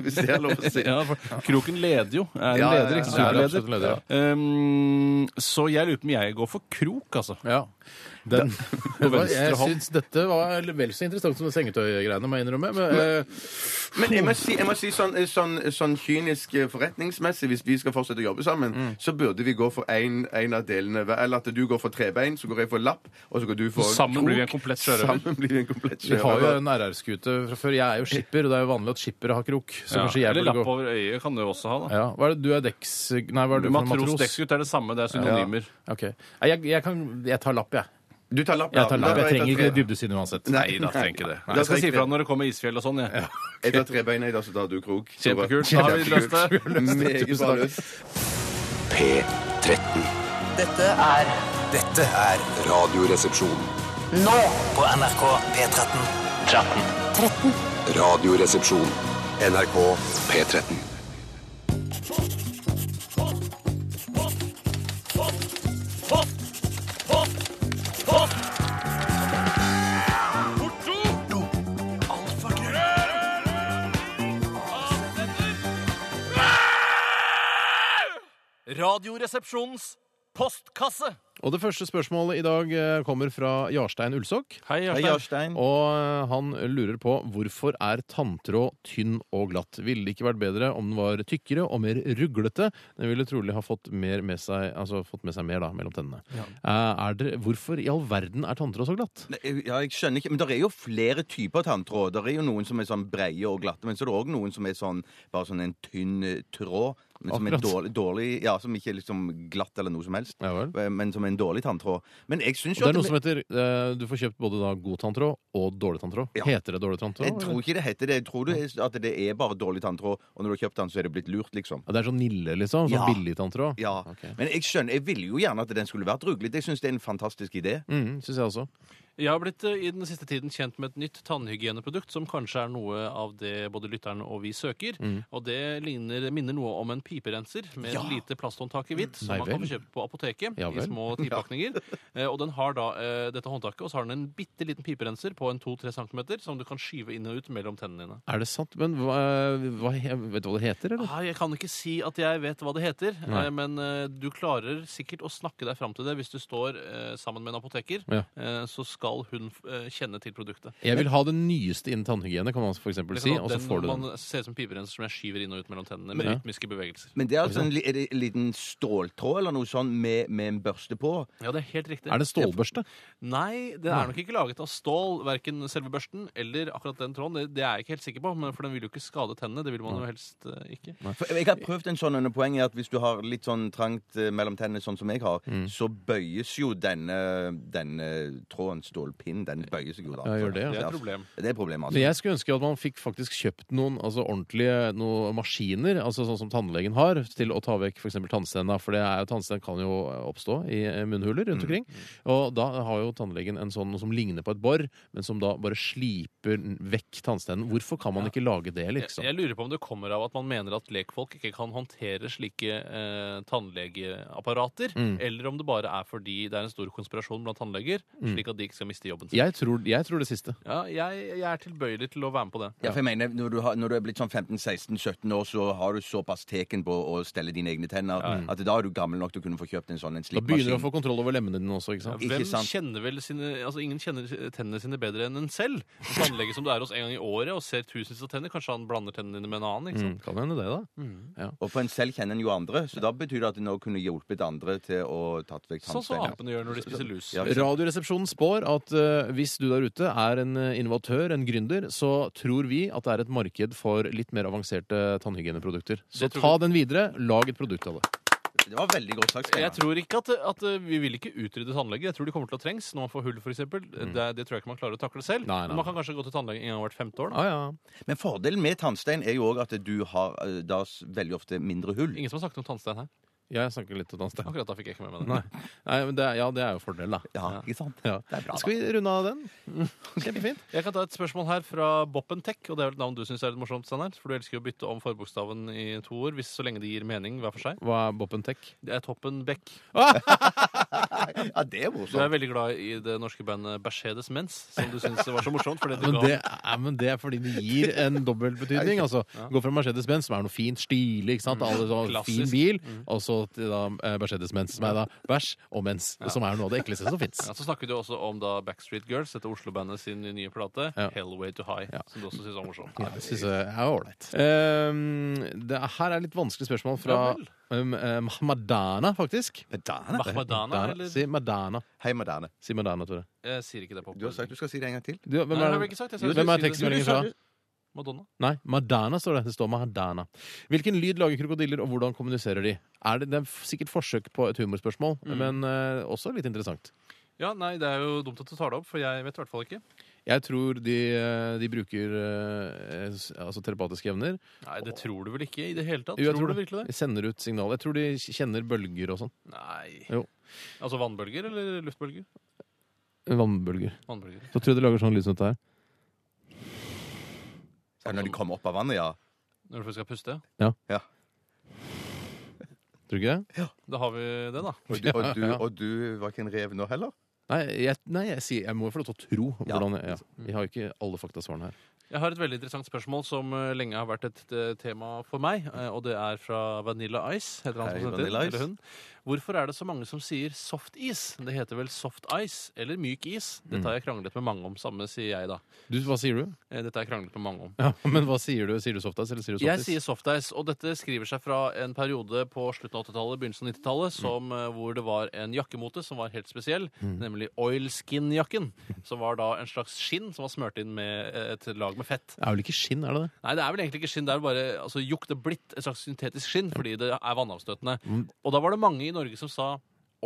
Hvis det er lov å
[LAUGHS]
si.
Eh. Ja, for kroken leder jo. Er en
Ja, ja, ja.
leder, ikke
Ja, det er
superleder.
absolutt en leder,
Um, så jeg lurer på om jeg går for krok, altså.
Ja. Den, jeg
venstre hånd.
syns dette var vel så interessant som det sengetøygreiene, må jeg innrømme. Men, eh,
Men jeg må si, jeg må si sånn, sånn, sånn kynisk eh, forretningsmessig, hvis vi skal fortsette å jobbe sammen,
Mm.
så burde vi gå for en, en av delene. hver. Eller at du går for trebein, så går jeg for lapp, og så går du for
Så sammen
krok.
blir vi en komplett sjørøver.
Sammen blir vi en komplett
vi har jo
sjørøver.
en RR-skute fra før. Jeg er jo skipper, og det er jo vanlig at skippere har krok. Så
Ja.
kanskje jeg
Eller
burde
lapp
gå
over øyet kan du også ha, da.
ja. Hva er det du er dekks... Nei, hva er du for en
Matros,
matros?
dekksgutt er det samme, det er synonymer.
Ok. Nei, Jeg, jeg, kan, jeg tar lapp, jeg.
Du tar lapp,
Jeg tar lapp.
Da
Jeg
tar
trenger ikke
tre-
dybdesyn uansett.
Nei,
Nei da, trenger ikke det.
Nei,
Jeg skal si ifra
trenger ikke det.
når det kommer isfjell og sånn, jeg.
Jeg tar trebein, jeg, da, så tar du krok. Så bra.
Kjempekult. Da har vi løst det.
Meget bra løst.
P13.
Dette er
Dette er
Radioresepsjon.
nå på NRK P13.
Radioresepsjon. NRK P13.
Radioresepsjonens postkasse.
Og det første spørsmålet i dag eh, kommer fra Jarstein Ulsok.
Hei,
Hei, Jarstein.
Og eh, han lurer på hvorfor er tanntråd tynn og glatt? Ville det ikke vært bedre om den var tykkere og mer ruglete? Den ville trolig ha fått mer med seg, altså fått med seg mer da, mellom tennene. Eh, Er det, hvorfor i all verden er tanntråd så glatt?
Nei, Ja, jeg skjønner ikke, men Det er jo flere typer tanntråd. Det er jo noen som er sånn breie og glatte, men så er det òg noen som er sånn bare sånn en tynn eh, tråd. Men som, er
Akkurat.
dårlig, dårlig, ja, som ikke er liksom glatt eller noe som helst,
Ja vel.
Eh, men som er en dårlig tanntråd. Men jeg
Og
syns jo
det
at
er noe som heter eh, Du får kjøpt både da god tanntråd og dårlig tanntråd.
Ja.
Heter det dårlig tanntråd?
Jeg tror
eller?
ikke det heter det. Jeg tror det er, at det er bare dårlig tanntråd, og når du har kjøpt den, så er det blitt lurt, liksom.
Ja, det er sånn Nille, liksom? Sånn
Ja.
billig tanntråd?
Ja, Men jeg skjønner, jeg ville jo gjerne at den skulle vært ruglete. Jeg syns det er en fantastisk idé.
Mm, Syns jeg også.
Jeg har blitt eh, i den siste tiden kjent med et nytt tannhygieneprodukt som kanskje er noe av det både lytteren og vi søker.
Mm.
Og det ligner, minner noe om en piperenser med et lite plasthåndtak i hvitt som
Nei
man kan
vel.
få kjøpt på apoteket
[LAUGHS] Ja vel.
i små tipakninger. Eh, Og den har da eh, dette håndtaket, og så har den en bitte liten piperenser på en 2-3 cm som du kan skyve inn og ut mellom tennene dine.
Er det sant? Men hva, hva, vet du hva det heter, eller?
Ah, jeg kan ikke si at jeg vet hva det heter,
Nei.
eh, men eh, du klarer sikkert å snakke deg fram til det hvis du står eh, sammen med en apoteker.
Ja.
Eh, Så
skal hun eh, kjenne til produktet.
Jeg vil ha det nyeste innen tannhygiene, kan man for eksempel si,
Liksom at
og så
den-
får du den.
Man ser ut som piperenser som jeg skyver inn og ut mellom tennene med
Ja.
rytmiske bevegelser.
Men det er altså en, li- er det en liten ståltråd eller noe sånn med, med en børste på.
Ja, det er helt riktig.
Er det stålbørste?
Nei, den er nok ikke laget av stål, verken selve børsten eller akkurat den tråden. Det, det er jeg ikke helt sikker på, men for den vil jo ikke skade tennene. Det vil man jo helst eh, ikke.
For jeg har prøvd en sånn under poenget at hvis du har litt sånn trangt eh, mellom tennene, sånn som jeg har,
Mm.
så bøyes jo denne, denne tråden, stålpinnen, den bøyer seg jo da. Altså,
Ja, gjør det, ja.
Det er et problem.
Det er problemet,
Men
altså.
jeg skulle ønske at man fikk faktisk kjøpt noen altså ordentlige noen maskiner, altså sånn som tannlegen har, til å ta vekk f.eks. tannstenene. For det er jo- tannsten kan jo oppstå i eh, munnhuler rundt omkring. Og da har jo tannlegen en sånn noe som ligner på et bor, men som da bare sliper vekk tannstenen. Hvorfor kan man ikke lage det, liksom?
Jeg lurer på om det kommer av at man mener at lekfolk ikke kan håndtere slike eh, tannlegeapparater,
Mm.
eller om det bare er fordi det er en stor konspirasjon blant tannleger,
Mm.
slik at de ikke skal miste jobben sin.
Jeg tror, jeg tror det siste.
Ja, jeg, jeg er tilbøyelig til å være med på det.
Ja, for jeg mener, når du, har, når du er blitt sånn 15-16-17 år, så har du såpass teken på å stelle dine egne tenner at da er du gammel nok til å kunne få kjøpt en sånn en
Da begynner du å
slippmaskin.
få kontroll over lemmene dine også, ikke sant?
Ikke
Hvem
sant?
kjenner vel sine, altså Ingen kjenner tennene sine bedre enn en selv. En Tannlege som du er hos en gang i året og ser tusenvis av tenner, kanskje han blander tennene dine med en annen. ikke sant?
Mm, kan hende det, da.
Og for en selv kjenner en jo andre, så da betyr det at en nå kunne hjulpet andre til å tatt vekk
Sånn som
tannsteiner.
apene gjør når de spiser lus.
Ja.
Radioresepsjonen spår at eh, hvis du der ute er en eh, innovatør, en gründer, så tror vi at det er et marked for litt mer avanserte tannhygieneprodukter. Så
Det tror
ta den videre, lag et produkt av det.
Det var veldig godt sagt,
Jeg
Steinar.
tror ikke at, at eh, Vi vil ikke utrydde tannleger. Jeg tror de kommer til å trengs når man får hull, f.eks. Det, det tror jeg ikke man klarer å takle selv.
Mm. Nei, nei,
Men man kan kanskje gå til tannlegen en gang hvert femte år. Da.
Ah, ja.
Men fordelen med tannstein er jo òg at du har eh, da s- veldig ofte mindre hull.
Ingen som har snakket om tannstein her.
Jeg snakker litt om tannstein.
Akkurat da fikk jeg ikke med meg det.
Nei. Nei, men det, er- ja, det er jo fordel, da.
Ja, ikke sant?
Ja.
Det er bra, da.
Skal vi runde av den? Kjempefint.
Jeg kan ta et spørsmål her fra Boppen Tech, og det er vel et navn du syns er litt morsomt, Steinar. For du elsker jo å bytte om forbokstaven i to ord, hvis så lenge det gir mening hver for seg.
Hva er Boppen Tech?
Det er Toppen Beck.
Ah!
Ja, det er
Du er
morsomt.
veldig glad i det norske bandet Mercedes Mens, som du syns var så morsomt. Fordi du
Men
ga
det, er, men det er fordi det gir [LAUGHS] en dobbeltbetydning. Altså, Gå fra Mercedes-Benz, som er noe fint, stilig, ikke sant? Alle så, fin
Klassisk.
bil, og så til da eh, Mercedes-Benz, som er da bæsj og mens, som er noe av det ekleste som fins.
ja, så snakket du også om da Backstreet Girls, dette Oslo-bandet sin nye plate,
Ja.
Hellway to High,
Ja.
som du også syns var morsomt.
Ja, det synes jeg er ålreit. Ehm, det her er litt vanskelig spørsmål fra
Ja vel.
um, eh, Madana, faktisk.
Madonna.
Mahmadana,
Madana,
eller
si Madana.
Hei, Madonna.
Si Madana, Tore.
Jeg sier ikke det på
Du har sagt du skal si det en gang til.
Du, hvem
Nei, det
er,
har vi ikke sagt. Jeg sa
hvem
vi
er
skulle si det.
tekstmeldingen fra?
Madonna.
Nei, Madana står det. Det står Madana. Hvilken lyd lager krokodiller, og hvordan kommuniserer de? Er det, det er sikkert forsøk på et humorspørsmål,
Mm.
men eh, også litt interessant.
Ja, nei, det er jo dumt at du tar det opp, for jeg vet i hvert fall ikke.
Jeg tror de, eh, de bruker eh, s- altså telepatiske evner.
Nei, det tror du vel ikke i det hele tatt?
Jo, jeg
tror du virkelig det?
De sender ut signaler. Jeg tror de kjenner bølger og sånn.
Nei.
Jo.
Altså vannbølger eller luftbølger?
Vannbølger.
Vannbølger.
Så tror jeg de lager sånn lyd som dette her.
Ja, når de kommer opp av vannet, ja.
Når du først skal puste?
ja.
Tror du ikke det?
Da har vi det, da.
Og, du, og, du, og du var ikke en rev nå heller?
Nei, jeg, nei, jeg, sier, jeg må jo få lov til å tro.
Ja.
Hvordan, jeg- ja. Vi har jo ikke alle faktasvarene her.
Jeg har et veldig interessant spørsmål som eh, lenge har vært et eh, tema for meg, eh, og det er fra Vanilla Ice. Heter han
Hei,
som sendte inn,
Vanilla Ice.
eller hun. Hvorfor er det så mange som sier soft is? Det heter vel soft ice eller myk is? Dette har jeg kranglet med mange om, samme sier jeg da.
Du, hva sier du?
Eh, Dette har jeg kranglet med mange om.
Ja, men hva sier du? Sier du softis, eller sier du
Jeg
softis?
sier softice, og dette skriver seg fra en periode på slutten av 80-tallet, begynnelsen av 90-tallet, som, eh, hvor det var en jakkemote som var helt spesiell, nemlig oilskin-jakken, som var da en slags skinn som var smørt inn med eh, et lag med fett.
Det er vel ikke skinn, er det det?
Nei, det er vel egentlig ikke skinn. Det er bare altså, jukt og blitt et slags syntetisk skinn fordi det er vannavstøtende.
Mm.
Og da var det mange i Norge som sa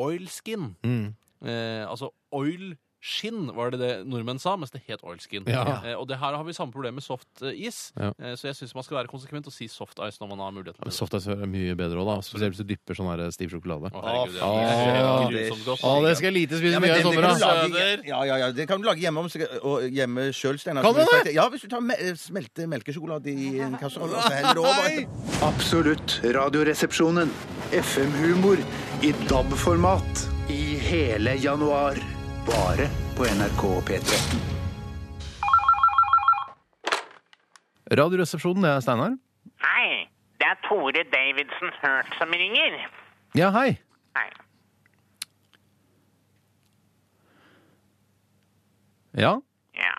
oilskin.
Mm.
Eh, altså oilskinn var det det nordmenn sa, mens det het oilskin.
Ja.
Eh, og det her har vi samme problem med soft eh, is,
Ja.
eh, så jeg syns man skal være konsekvent og si soft ice når man har muligheten.
Men
til det.
Softis er mye bedre òg, da. Spesielt hvis du dypper sånn her stiv sjokolade.
Å, herregud, det er
faen.
grusomt godt.
Å, det skal jeg lite spise
Ja, men
mye av i
det, det,
sommer,
kan du
da!
lage, ja, ja, ja, det kan du lage hjemme, om, og hjemme sjøl, Steinar.
Kan
som
man
du sa. Ja, hvis du tar me smelter melkesjokolade i en kasserolle og så heller det over. etterpå.
Absolutt radioresepsjonen. FM-humor i DAB-format. I hele januar. Bare på NRK P13.
Radioresepsjonen, det er Steinar.
Hei, det er Tore Davidsen Hurt som ringer.
Ja, hei.
Hei.
Ja.
Ja.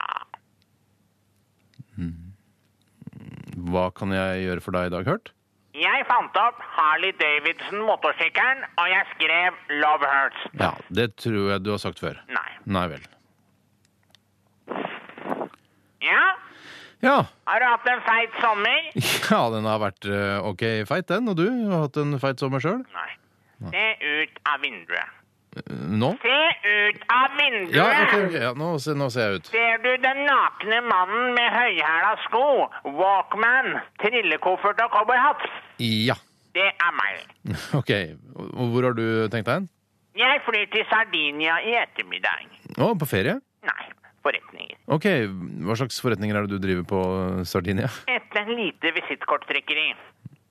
Hva kan jeg gjøre for deg i dag, Hurt?
Jeg fant opp Harley Davidson-motorsykkelen, og jeg skrev 'Love Hurts'.
Ja, det tror jeg du har sagt før.
Nei.
Nei vel.
Ja?
Ja.
Har du hatt en feit sommer?
[LAUGHS] Ja, den har vært eh, OK feit, den. Og du har hatt en feit sommer sjøl?
Nei. Se ut av vinduet.
Nå?
Se ut av vinduet!
Ja, ok, ok. Ja, nå, ser, nå ser jeg ut.
Ser du den nakne mannen med høyhæla sko, walkman, trillekoffert og cowboyhatt?
Ja.
Det er meg.
OK. Og Hvor har du tenkt deg hen?
Jeg flyr til Sardinia i ettermiddag.
Å, på ferie?
Nei, forretninger.
OK. Hva slags forretninger er det du driver på Sardinia?
Et lite visittkorttrekkeri.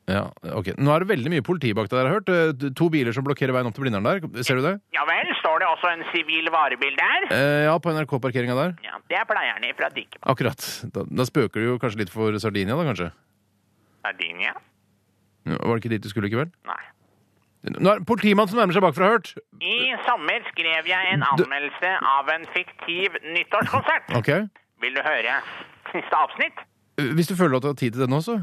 Ja, ok. Nå er det veldig mye politi bak deg, har jeg hørt. Eh, To biler som blokkerer veien opp til Blindern der. Ser du det?
Ja vel, står det også en sivil varebil der?
Eh, ja, på NRK-parkeringa der.
Ja, det er pleierne fra Dikk.
Akkurat. Da, da spøker du jo kanskje litt for Sardinia, da kanskje?
Sardinia?
Ja, Var det ikke dit du skulle i kveld?
Nei.
Nå er det en politimann som nærmer seg bakfra, hørt!
I sommer skrev jeg en anmeldelse av en fiktiv nyttårskonsert.
[LAUGHS] Ok.
Vil du høre siste avsnitt?
Eh, Hvis du føler at du har tid til det nå, så.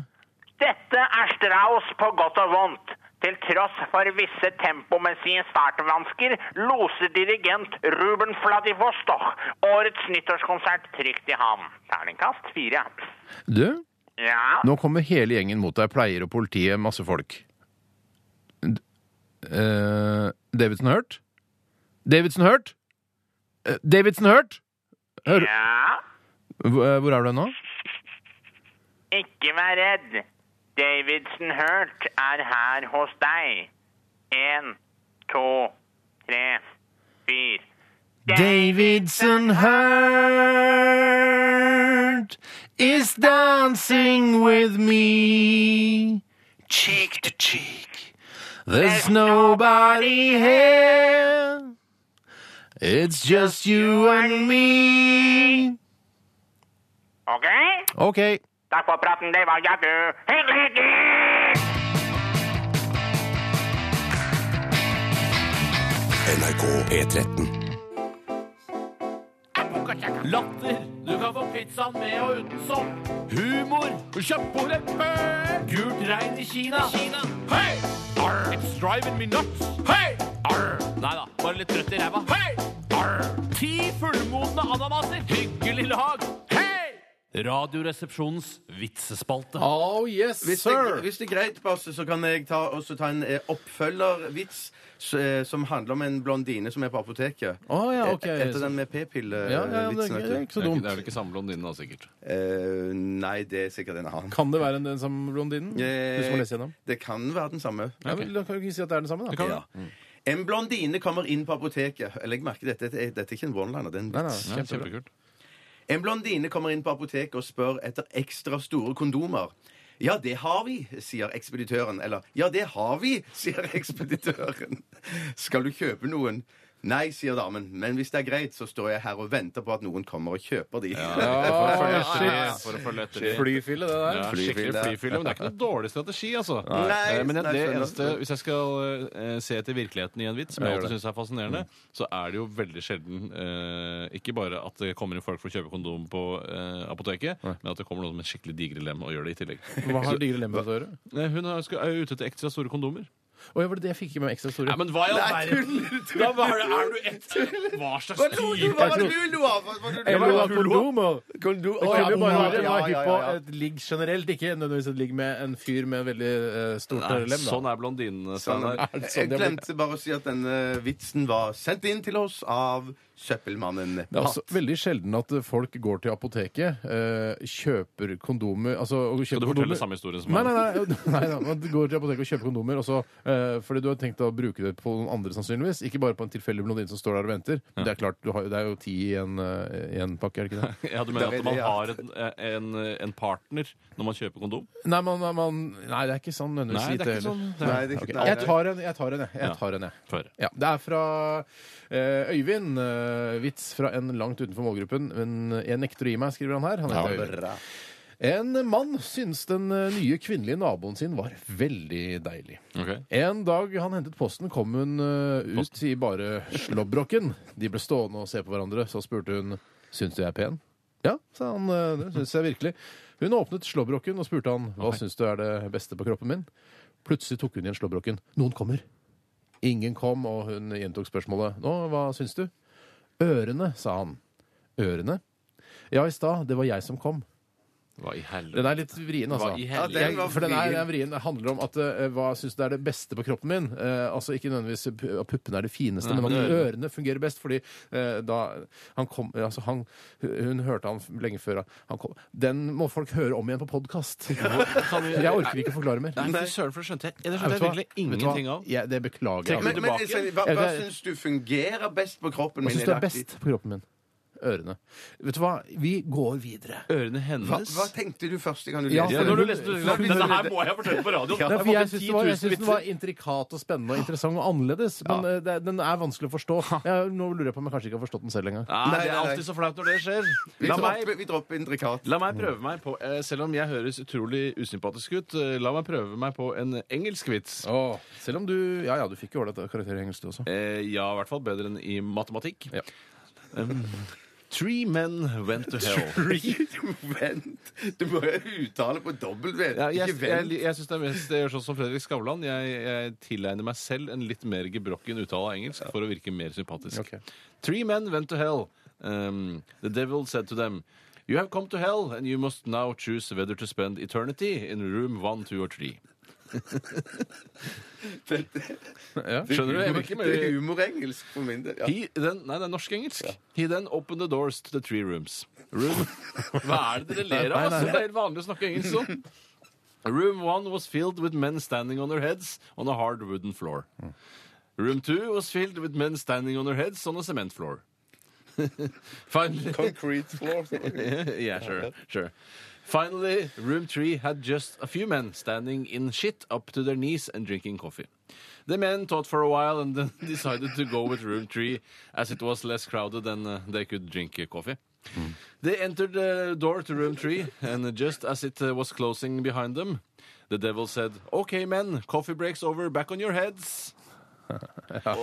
Dette er Strauss på godt og vondt. Til tross for visse tempomessige startvansker loser dirigent Ruben Vladivostok årets nyttårskonsert trygt i havn. Terningkast fire.
Du,
Ja,
nå kommer hele gjengen mot deg. Pleier og politiet, masse folk. D- eh, Davidsen hørt? Davidsen hørt? Eh, Davidsen hørt? Hør.
ja.
Hvor eh, hvor er du nå?
Ikke vær redd. Davidson Hurt er her hos deg. En, to, tre, fyr.
Davidson Hurt is dancing with me. Cheek to cheek. There's nobody here. It's just you and me.
OK?
Ok.
Takk for praten, det var jaggu hyggelig! hyggelig.
NRK P13.
Latter. Du kan få pizzaen med og uten sopp. Humor. Kjøpt på det før. Gult regn i Kina. Hei! Arr. It's driving me nuts. Hei! Arr. Nei da, bare litt trøtt i ræva. Hei! Arr. Ti fullmodne ananaser. Hyggelig lag. Hei! Radioresepsjonens vitsespalte.
Oh yes,
Hvis det, hvis det er greit, Basse, så kan jeg ta, også ta en eh, oppfølgervits s- eh, som handler om en blondine som er på apoteket.
Å, ja, ok.
Et- Etter den med p-pille-vitsen.
Ja, ja, det, er- det er ikke så dumt.
Det er vel ikke samme blondinen, da, sikkert.
Eh, nei, det er sikkert en annen.
Kan det være en- den samme blondinen?
Eh,
Du som har lest gjennom?
Det kan være den samme.
Ja, vel, da kan vi ikke si at det er den samme, da.
Ja. En blondine kommer inn på apoteket. Eller jeg merker dette, dette er, dette er ikke en one-liner, det er en
Nei, nei,
vits.
nei.
Ja, kjempekult.
En blondine kommer inn på apoteket og spør etter ekstra store kondomer. Ja, det har vi, sier ekspeditøren. Eller ja, det har vi, sier ekspeditøren. Skal du kjøpe noen? Nei, sier damen, men hvis det er greit, så står jeg her og venter på at noen kommer og kjøper de.
For å følge
Ah, shit.
etter det. For å følge etter det.
Flyfille, det der.
Ja, skikkelig
Flyfille.
flyfille. Men det er ikke noe dårlig strategi, altså.
Nei,
Eh, Men det,
nei,
det
skjønner.
eneste, hvis jeg skal eh, se etter virkeligheten i en vits, som jeg alltid syns er fascinerende, så er det jo veldig sjelden eh, ikke bare at det kommer inn folk for å kjøpe kondom på eh, apoteket, men at det kommer noen med skikkelig digre lem og gjør det i tillegg. [LAUGHS]
Hva har digre lemmer å gjøre?
Nei, Hun er skal- er jo ute etter ekstra store kondomer.
Å ja, var det det jeg fikk med ekstra store?
Nei, men hva i all verden? Da var det, er du et Hva slags type?
[LAUGHS] Hva var det du lo av? Hva var det du
Jeg sånn
lo
vil ha
av?
kondomer!
Kondom-
Det
Å,
kunne
ja,
jo bare
ja,
være
ja,
hypp på
ja, ja.
et ligg generelt, ikke nødvendigvis et ligg med en fyr med veldig eh, stort
Nei,
lem.
Sånn er blondinene, Steinar.
det sånn
Jeg
det har blitt?
glemte bare å si at denne vitsen var sendt inn til oss av Søppelmannen.
Det er også veldig sjelden at folk går til apoteket, eh, kjøper kondomer altså, og kjøper
Skal du
kondomer-
fortelle samme historie som
Nei,
meg?
nei, nei,
[LAUGHS]
nei, nei. Man går til apoteket og kjøper kondomer, og så, eh, fordi du har tenkt å bruke det på noen andre sannsynligvis. Ikke bare på en tilfeldig blondine som står der og venter. Det er klart, du har, jo- det er jo ti i en, eh, i en pakke, er det ikke det?
[LAUGHS] Ja, Du mener
Det er
at man
det, ja.
har en, en, eh, en partner når man kjøper kondom?
Nei, man, man- man, nei det er ikke sånn nødvendigvis.
Nei, det er
lite
ikke
heller.
sånn.
Nei, det er ikke-
Ok,
nei,
Jeg
nei.
tar en, jeg. tar en, jeg.
Ja.
jeg, tar en, jeg.
Få høre.
Ja, det er fra eh, Øyvind. eh, vits fra en langt utenfor målgruppen. Men jeg nekter å gi meg, skriver han her. Han heter Øyvind.
Bra.
En mann syntes den eh, nye kvinnelige naboen sin var veldig deilig.
Ok.
En dag han hentet posten, kom hun eh, ut i bare slåbroken. De ble stående og se på hverandre. Så spurte hun
Syns du jeg er pen? Ja, sa han. eh, Det syns jeg virkelig. Hun åpnet slåbroken og spurte han hva syns du er det beste på kroppen min. Plutselig tok hun igjen slåbroken. Noen kommer. Ingen kom, og hun gjentok spørsmålet. Nå, hva syns du? Ørene, sa han. Ørene? Ja, i stad. Det var jeg som kom.
Hva i helvete?
Den er litt vrien, altså.
Hva i helvete?
Jeg- for den er, den er vrien. Det handler om at eh, hva syns du er det beste på kroppen min? Eh, altså ikke nødvendigvis pu- at puppene er det fineste,
Nei,
men at
men-
ørene fungerer best. Fordi eh, da han kom Altså, han Hun hørte han f- lenge før han kom Den må folk høre om igjen på podkast. [LAUGHS] Jeg orker ikke å forklare mer.
Nei, fy søren, for det skjønte jeg. Det skjønte
Vet
jeg
du hva?
virkelig
Vet du hva?
ingenting av.
Jeg- det beklager jeg.
Trekker
Men,
du
men
tilbake?
Øystein, hva,
Er
hva
det-
syns du fungerer best på kroppen
Hva
min?
syns du er
i dag?
best på kroppen min? Ørene. Vet du hva, vi går videre.
Ørene
Hva,
hennes
hva tenkte du første gang du
Ja,
leste
for
Når du
hun-
leste Denne her må jeg fortelle på radioen!
Nei, for
Jeg
jeg
har fått
syns den, var- jeg
10 000
synes den var intrikat og spennende og interessant og annerledes. Men eh, det, den er vanskelig å forstå. Jeg, nå lurer jeg på om jeg kanskje ikke har forstått den selv engang.
Nei,
Nei,
det er
nei, nei.
alltid så flaut når det skjer.
Vi
La meg,
dropper, vi dropper intrikat.
la meg prøve meg på eh, Selv om jeg høres utrolig usympatisk ut, eh, la meg prøve meg på en engelsk vits.
Åh, selv om du Ja ja, du fikk jo ålreit karakter i engelsk, du også.
Eh, ja, i hvert fall bedre enn i matematikk.
Ja.
Um, three men went to hell.
Vent! Du må jo uttale på dobbelt V.
Ja, jeg
Ikke
jeg,
vent.
jeg synes det er mest jeg gjør sånn som Fredrik Skavlan. Jeg, jeg tilegner meg selv en litt mer gebrokken uttale av engelsk for å virke mer sympatisk.
Ok.
Three men went to hell. Um, the devil said to them You have come to hell, and you must now choose whether to spend eternity in room one, two or
[LAUGHS]
three. Skjønner du? Jeg vet ikke
Det er
mer.
humorengelsk for min del. Ja.
He, den, nei, det er norsk-engelsk. He then opened the doors to the three rooms.
[LAUGHS]
Room Hva er det dere ler av? Altså? Det er helt vanlig å snakke engelsk sånn. Room one was filled with men standing on their heads on a hard wooden floor. Room two was filled with men standing on their heads on a cement floor. [LAUGHS] Finally,
Concrete floor.
[LAUGHS] yeah, sure, sure. Finally, room three had just a few men standing in shit up to their knees and drinking coffee. The men thought for a while and then [LAUGHS] decided to go with room three as it was less crowded and uh, they could drink uh, coffee.
Hmm.
They entered the door to room three, and just as it uh, was closing behind them, the devil said, Okay, men, coffee breaks over, back on your heads.
Le da,
[LAUGHS]
for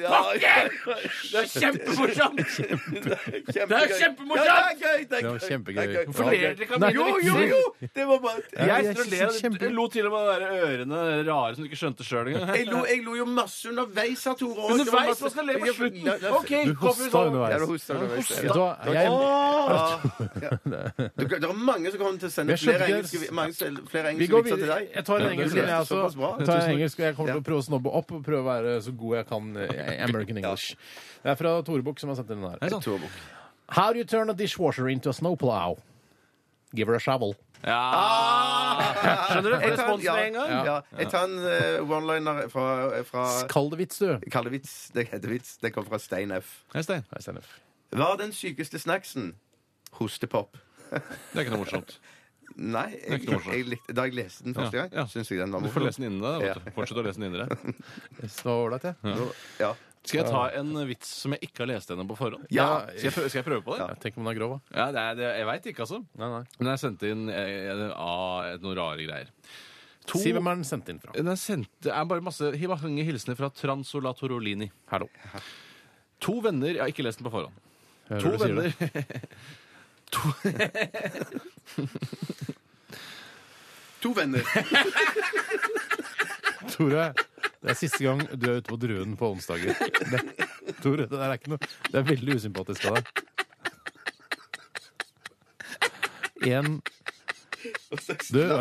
pokker!
Det er kjempemorsomt!
Det
er kjempemorsomt!
Det
var kjempegøy.
Hvorfor ler dere ikke av
Nei,
mine
Jo, jo,
vitser?
jo! Det var bare
Jeg,
jeg
sitter og
synes det
ler
er
av det.
kjempegøy.
lo til og med de der ørene de rare som du ikke skjønte sjøl engang.
Jeg lo, jeg lo jo masse underveis av Tore. og det var
Underveis,
masse-
man skal le på
Ja,
slutten!
ja, ja.
OK, sånn.
Du
coffee is
hosta
over.
Ja, du
underveis.
hosta underveis.
Vet du hva, jeg,
Åh! Du, det er mange som kommer til å sende
Jeg skjønte
flere
ikke-
engelske, mange, sel- flere
vi
engelske
går
vitser til
videre.
deg.
Jeg tar en engelsk, jeg
leste såpass
også.
bra.
Jeg tar altså, en engelsk, og jeg kommer til å prøve å snobbe opp og prøve å være så god jeg kan i American English. Det er fra Tore Bukk som har sendt inn den her. How do you turn a dishwasher into a snowplow? Give her a shovel.
Skjønner du?
Jeg tar en-
Responsen med en gang.
Ja, jeg tar en eh, one-liner fra, fra
Skaldevits, du.
Kallevits. Det heter vits. Det kommer fra Stein F.
Hei, Stein.
Nei, Stein F.
Hva er den sykeste snacksen? Hostepop.
Det er ikke noe morsomt.
Nei, jeg,
ikke noe morsomt.
jeg, likte- da jeg leste den første
Ja, ja.
gang, syns jeg den var
Du får
morsom.
lese den inni deg. vet du.
Ja.
Fortsett å lese den inni deg.
Det var ålreit, jeg.
Ja.
Skal jeg ta en vits som jeg ikke har lest ennå på forhånd?
Ja.
Skal jeg prøve, skal jeg prøve på det?
Ja, Tenk om den er grov, da.
Ja, det er, det, Jeg veit ikke, altså.
Nei, nei.
Men jeg sendte inn eh, ah, noen rare greier. To-
Si hvem er den sendt inn fra.
Den er sendt, det er bare masse hi- mange hilsener fra Transolatorolini. Hallo. To venner Jeg har ikke lest den på forhånd.
Hører
To
du sier
venner [LAUGHS]
det.
To
To
[LAUGHS]
venner.
[LAUGHS] Tore, det er siste gang du er ute på Druen på onsdager. Det, Tore, det der er ikke noe Det er veldig usympatisk av deg. En du, husker du hva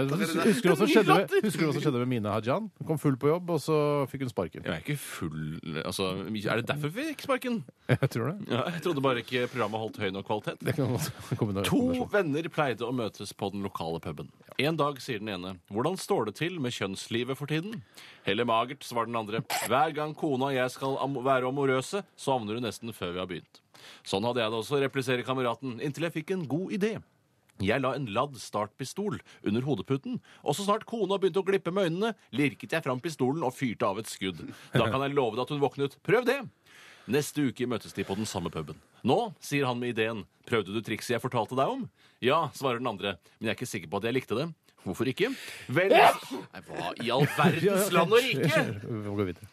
som skjedde med, husker du hva som skjedde med Mina Hajan? Hun kom full på jobb, og så fikk hun [LAUGHS] sparken.
Jeg er ikke full altså, Er det derfor vi fikk sparken?
Jeg tror det.
Ja, jeg trodde bare ikke programmet holdt høy nok kvalitet.
Det kan godt komme en
To
rekommendasjon.
venner pleide å møtes på den lokale puben. En dag sier den ene 'Hvordan står det til med kjønnslivet for tiden?' Heller magert, svarer den andre. 'Hver gang kona og jeg skal am være amorøse, så havner hun nesten før vi har begynt.' Sånn hadde jeg det også, repliserer kameraten, inntil jeg fikk en god idé. Jeg la en ladd startpistol under hodeputen, og så snart kona begynte å glippe med øynene, lirket jeg fram pistolen og fyrte av et skudd. Da kan jeg love deg at hun våknet. Prøv det! Neste uke møtes de på den samme puben. Nå, sier han med ideen, prøvde du trikset jeg fortalte deg om? Ja, svarer den andre, men jeg er ikke sikker på at jeg likte det. Hvorfor ikke? Vel Nei, hva i all verdens land og rike?
Vi må gå videre.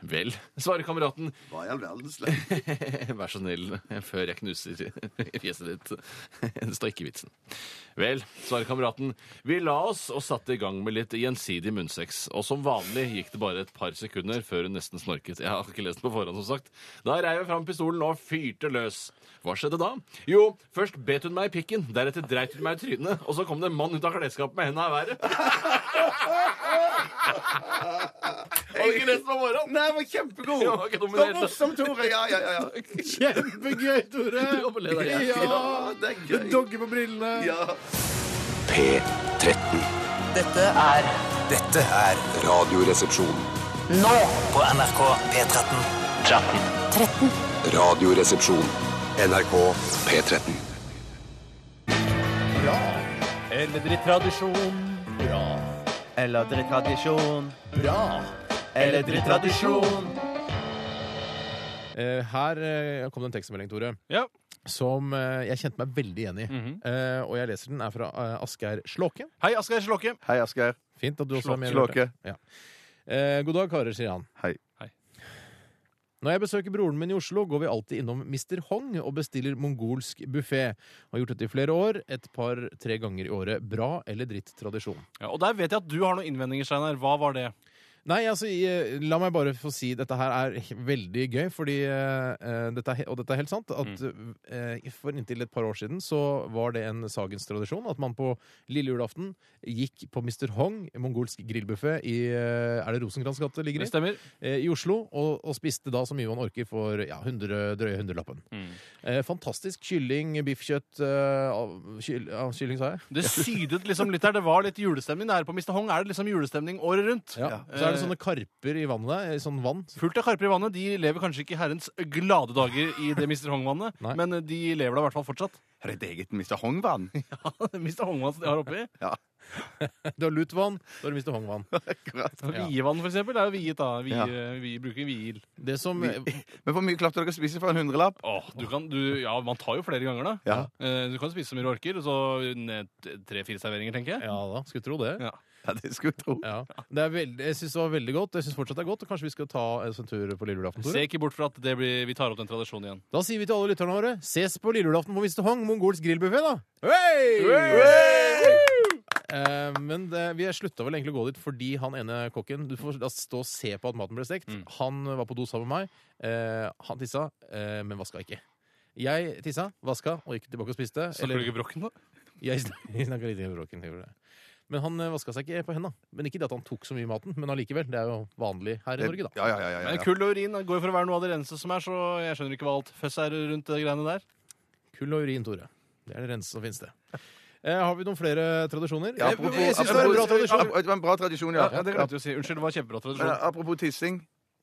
Vel, svarer kameraten.
Hva i all verdens
[LAUGHS] Vær så snill, før jeg knuser [LAUGHS] fjeset ditt. Det står ikke i vitsen. Vel, svarer kameraten. Vi la oss og satte i gang med litt gjensidig munnsex. Og som vanlig gikk det bare et par sekunder før hun nesten snorket. Jeg har ikke lest den på forhånd, som sagt. Da reiv jeg fram pistolen og fyrte løs. Hva skjedde da? Jo, først bet hun meg i pikken, deretter dreit hun meg i trynet, og så kom det en mann ut av klesskapet med hendene i været. [LAUGHS] Har du ikke lest den på forhånd?
Nei, den var kjempegod!
Ja, ikke dominert.
Så morsom, Tore! Ja, ja, ja. ja.
Kjempegøy, Tore!
Du overlever det, jeg.
Ja,
det er gøy.
Du dogger på brillene.
Ja.
P13.
Dette er
Dette er Radioresepsjon.
nå på NRK P13. 13.
Radioresepsjon. NRK P13.
Eller i tradisjon.
Eller tradisjon.
Eller i tradisjon.
Eh, Her eh, kom det en tekstmelding, Tore.
Ja.
Som eh, jeg kjente meg veldig igjen i. Eh, Og jeg leser den. er fra eh, Asgeir Slåke.
Hei, Asgeir Slåke.
Hei, Asgeir.
Fint at du også er med.
Slåke.
Bjarte. Ja. Eh, God dag, karer, sier han.
Hei.
Hei.
Når jeg besøker broren min i Oslo, går vi alltid innom Mr. Hong og bestiller mongolsk buffé. Har gjort dette i flere år. Et par-tre ganger i året. Bra eller dritt tradisjon?
Ja, og der vet jeg at du har noen innvendinger, Steinar. Hva var det?
Nei, altså, i- la meg bare få si dette her er he- veldig gøy, fordi, eh, dette er, he- og dette er helt sant, at
Mm.
eh, for inntil et par år siden så var det en sagens tradisjon at man på lille julaften gikk på Mr. Hong, mongolsk grillbuffé i eh, Er det Rosenkrantz gate ligger i?
Det stemmer.
eh, i Oslo, og, og spiste da så mye man orker for ja, 100, drøye hundrelappen. Eh, fantastisk kylling, biffkjøtt eh, av- kyll, ja, Kylling, sa jeg?
Det sydet liksom litt der. Det var litt julestemning der. På Mr. Hong er det liksom julestemning året rundt.
Ja. Så er det sånne karper i vannet der, i sånn vann.
Fullt av karper i vannet. De lever kanskje ikke herrens glade dager i det Mr. Hong-vannet,
Nei.
men de lever da i hvert fall fortsatt. [LAUGHS]
Har de et eget Mr. Hong-vann? [LAUGHS]
Mr. Hong-vann som de har oppi.
Du har lutvann, da har du Mr. Hong-vann. Ja.
Vievann, for eksempel. Det er jo viet, da. Vi, eh,
Ja.
vi bruker viel.
Det som eh,
Men hvor mye klarte dere å spise for en hundrelapp?
Åh, du kan, du, ja, man tar jo flere ganger, da.
Ja.
Eh, Du kan spise så mye du orker. og Så ned t- tre-fire serveringer, tenker jeg.
Ja da, skulle tro det.
Ja.
ja, det skulle jeg tro.
Ja. Det er veldig, jeg syns det var veldig godt. Jeg syns fortsatt det er godt. og Kanskje vi skal ta en sånn tur på lille julaften?
Se
Tore?
ikke bort fra at det blir, vi tar opp den tradisjonen igjen.
Da sier vi til alle lytterne våre ses på lille julaften på Mr. Hong, mongolsk grillbuffé, da! Eh, men det, vi slutta vel egentlig å gå dit fordi han ene kokken Du får da stå og se på at maten ble stekt.
Mm.
Han var på do sammen med meg. Eh, han tissa, eh, men vaska ikke. Jeg tissa, vaska og gikk tilbake og spiste.
Snakker du ikke brokken, da?
[LAUGHS] Jeg snakka litt i bråken. jeg gjorde det. Men han eh, vaska seg ikke på henda. Men ikke det at han tok så mye i maten, men allikevel. Det er jo vanlig her i Norge, da.
Ja, ja, ja, ja, ja.
Men kull og urin går jo for å være noe av det reneste som er, så jeg skjønner ikke hva alt føss er rundt det greiene der.
Kull og urin, Tore. Det er det reneste som finnes, det. Eh, har vi noen flere tradisjoner?
Ja,
Jeg- jeg synes det er en bra tradisjon.
apropos- det var en bra tradisjon, ja.
Ja, det glemte jeg å si. Unnskyld, det var kjempebra
Men eh,
tradisjon.
apropos tissing,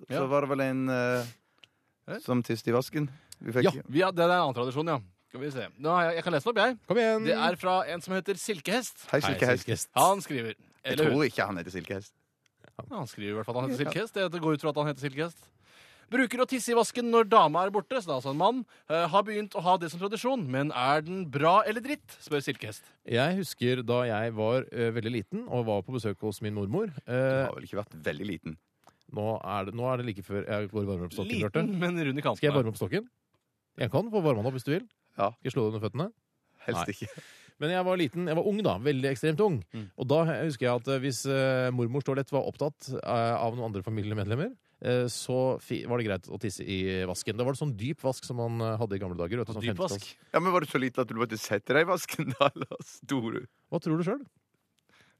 Ja.
så var det vel en eh, som tiste i vasken. Vi fikk
Ja.
Vi har- det er en annen tradisjon, ja. Skal vi se. Nå har jeg, jeg kan lese den opp, jeg.
Kom igjen.
Det er fra en som heter Silkehest.
Hei, Silkehest.
Han skriver
Jeg
eller hun.
tror ikke han heter Silkehest.
Han skriver i hvert fall at han heter Silkehest. Det går ut fra at han heter Silkehest. Bruker å tisse i vasken når dama er borte, så det er altså en mann. eh, har begynt å ha det som tradisjon, men er den bra eller dritt? spør Silkehest.
Jeg husker da jeg var eh, veldig liten og var på besøk hos min mormor. Eh,
Han har vel ikke vært veldig liten.
nå, er det, nå er det like før jeg går og varmer opp stokken, Bjarte.
Liten, men rund i kanten.
Skal jeg varme opp stokken? Jeg kan få varme den opp hvis du vil.
Ja.
Skal jeg slå deg under føttene?
Helst
Nei.
ikke.
Men jeg var liten, jeg var ung da, veldig ekstremt ung. Og da husker jeg at eh, hvis eh, mormors toalett var opptatt eh, av noen andre familiemedlemmer, eh, så fi, var det greit å tisse i vasken. Da var det sånn dyp vask som man eh, hadde i gamle dager. Vet, du, sånn
Dyp vask.
15-talls.
Ja, men Var du så liten at du måtte sette deg i vasken da, [LAUGHS] eller sto du?
Hva tror du sjøl?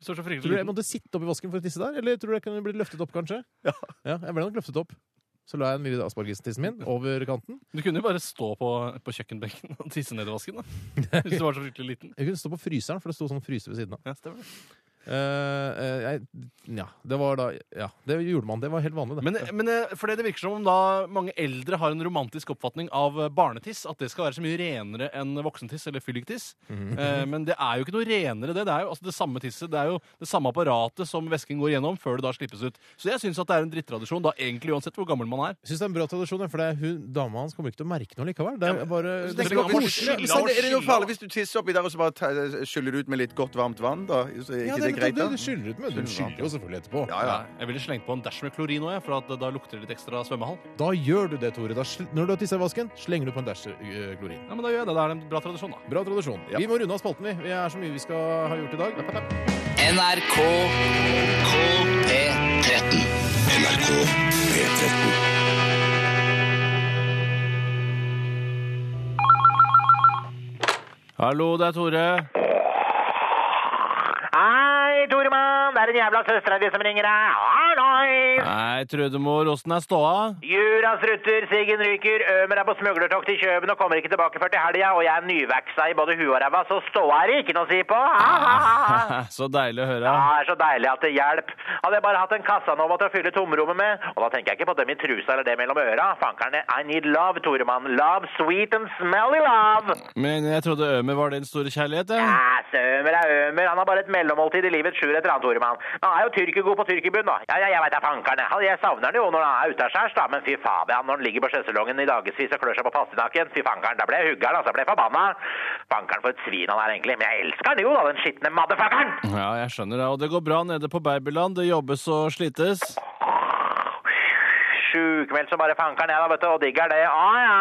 Står så
Tror du jeg
fryktelig liten.
måtte sitte opp i vasken for å tisse der? Eller tror du jeg kunne blitt løftet opp, kanskje?
Ja.
jeg ble nok løftet opp. Så la jeg den lille aspargestissen min over kanten.
Du kunne jo bare stå på, på kjøkkenbenken og tisse ned i
[LAUGHS]
vasken, da. Hvis du var så fryktelig liten.
Jeg kunne stå på fryseren, for det sto sånn fryser ved siden av.
Ja, stemmer det.
Eh, eh, jeg, ja, det var da Ja, det gjorde man. Det var helt vanlig, det.
Men, men eh, for det, det virker som om da mange eldre har en romantisk oppfatning av eh, barnetiss. At det skal være så mye renere enn voksentiss eller fylliktiss.
Mhm.
Eh, men det er jo ikke noe renere, det. Det er jo altså, det samme tisset. Det er jo det samme apparatet som væsken går gjennom før det da slippes ut. Så jeg syns at det er en drittradisjon, da egentlig uansett hvor gammel man er.
Jeg synes det er en bra tradisjon, ja, for det er hun, dama hans kommer ikke til å merke noe likevel. Det er bare
Så
det er
tenker jeg,
man må
hvorfor-
skylle-
Men er det noe
skylle-
farlig hvis du tisser oppi der og så bare ta- skyller det ut med litt godt varmt vann? da? Så ikke
Ja, det
det
det greit, da?
Du skyller ut, men du skyller jo selvfølgelig etterpå.
Jeg ville slengt på en dash med klorin òg, for at da lukter det litt ekstra svømmehall.
Da gjør du det, Tore. Da sl når du har tissa i vasken, slenger du på en dash eh, klorin.
Ja, men Da gjør jeg det. Da er det en bra tradisjon, da.
Bra tradisjon. Vi må runde av spalten, vi. Vi er så mye vi skal ha gjort i dag.
NRK P13.
NRK P13.
Hallo, det er Tore.
Hei, Toremann, det er den jævla søstera di som ringer deg. Hallois!
Hei, Trudemor. Åssen er ståa?
Jura strutter, Siggen ryker, Ømer er på smuglertokt i Kjøben og kommer ikke tilbake før til helga, og jeg er nyveksa i både huet og ræva, så ståa er det ikke noe å si på. Ha, ha, ha, ha.
[LAUGHS] Så deilig å høre.
Ja, Ah, det er så deilig at det hjelper. Hadde jeg bare hatt en Casanova til å fylle tomrommet med, og da tenker jeg ikke på dem i trusa eller det mellom øra. Fankerne, I need love, Toremann. Love, sweet and smelly love.
Men jeg trodde Ømer var din store kjærlighet. jeg.
Ja, Sømer er Ømer. Han har bare et mellommåltid i livets skjur etter annet, Toremann. Men han er jo tyrkergod på tyrkerbunn, da. Ja, ja, jeg veit da, fankerne. Han- Jeg savner han jo når han er utaskjærs, da. Men fy faen, han når han ligger på sjøsalongen i dagevis og klør seg på pastinaken. Fy fankeren, da ble jeg hugger'n, altså. Jeg ble forbanna. Fankeren for et svin han er, egentlig. Men jeg elsker han jo, da, den skitne motherfuckeren.
Ja, jeg skjønner det. Og det går bra nede på babyland. Det jobbes og slites.
Sjukmeldt som bare fankeren jeg da, vet du, og digger det. Ah ja,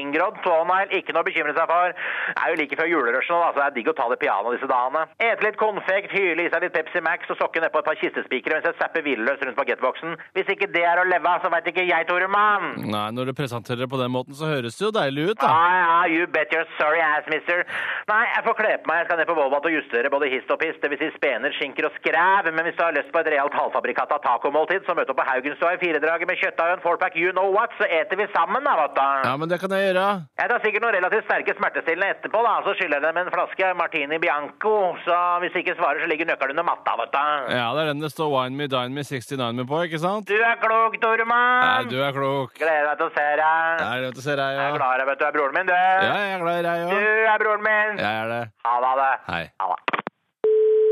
inngrodd tånegl, ikke noe å bekymre seg for. Det er jo like før julerushen, nå, da, så det er digg å ta det piano disse dagene. Ete litt konfekt, hyle i seg litt Pepsi Max og sokke nedpå et par kistespikere mens jeg zapper hvileløst rundt bagettboksen. Hvis ikke det er å leve av, så veit ikke jeg, Toremann.
Nei, når du presenterer det på den måten, så høres det jo deilig ut, da.
Ah, ja, you bet your sorry ass, mister. Nei, jeg får kle på meg. Jeg skal ned på Volvat og justere både hist og pist, dvs. Si spener, skinker og skræv. Men hvis du har lyst på et realt halvfabrikata tacomåltid, så møt opp på Haugenstua i firedraget med kjøttdeig og en fourpack you know what, så eter vi sammen, da, vet du.
Ja, men det kan jeg gjøre.
Jeg tar sikkert noen relativt sterke smertestillende etterpå, da. Så skyller jeg dem en flaske Martini Bianco. Så hvis de ikke svarer, så ligger nøkkelen under matta, vet du.
Ja, det er den det står Wine Me, Dine Me, 69 Me på, ikke sant?
Du er klok,
Nei,
Tormann.
du er klok.
Gleder meg til å se deg.
Jeg er glad til å se deg,
Jeg er
ja.
glad i deg, vet du. Du er broren min, du.
Ja, jeg er glad i deg
Du
òg.
er broren min.
Jeg er det.
Ha det, ha det.
Hei.
Ha det.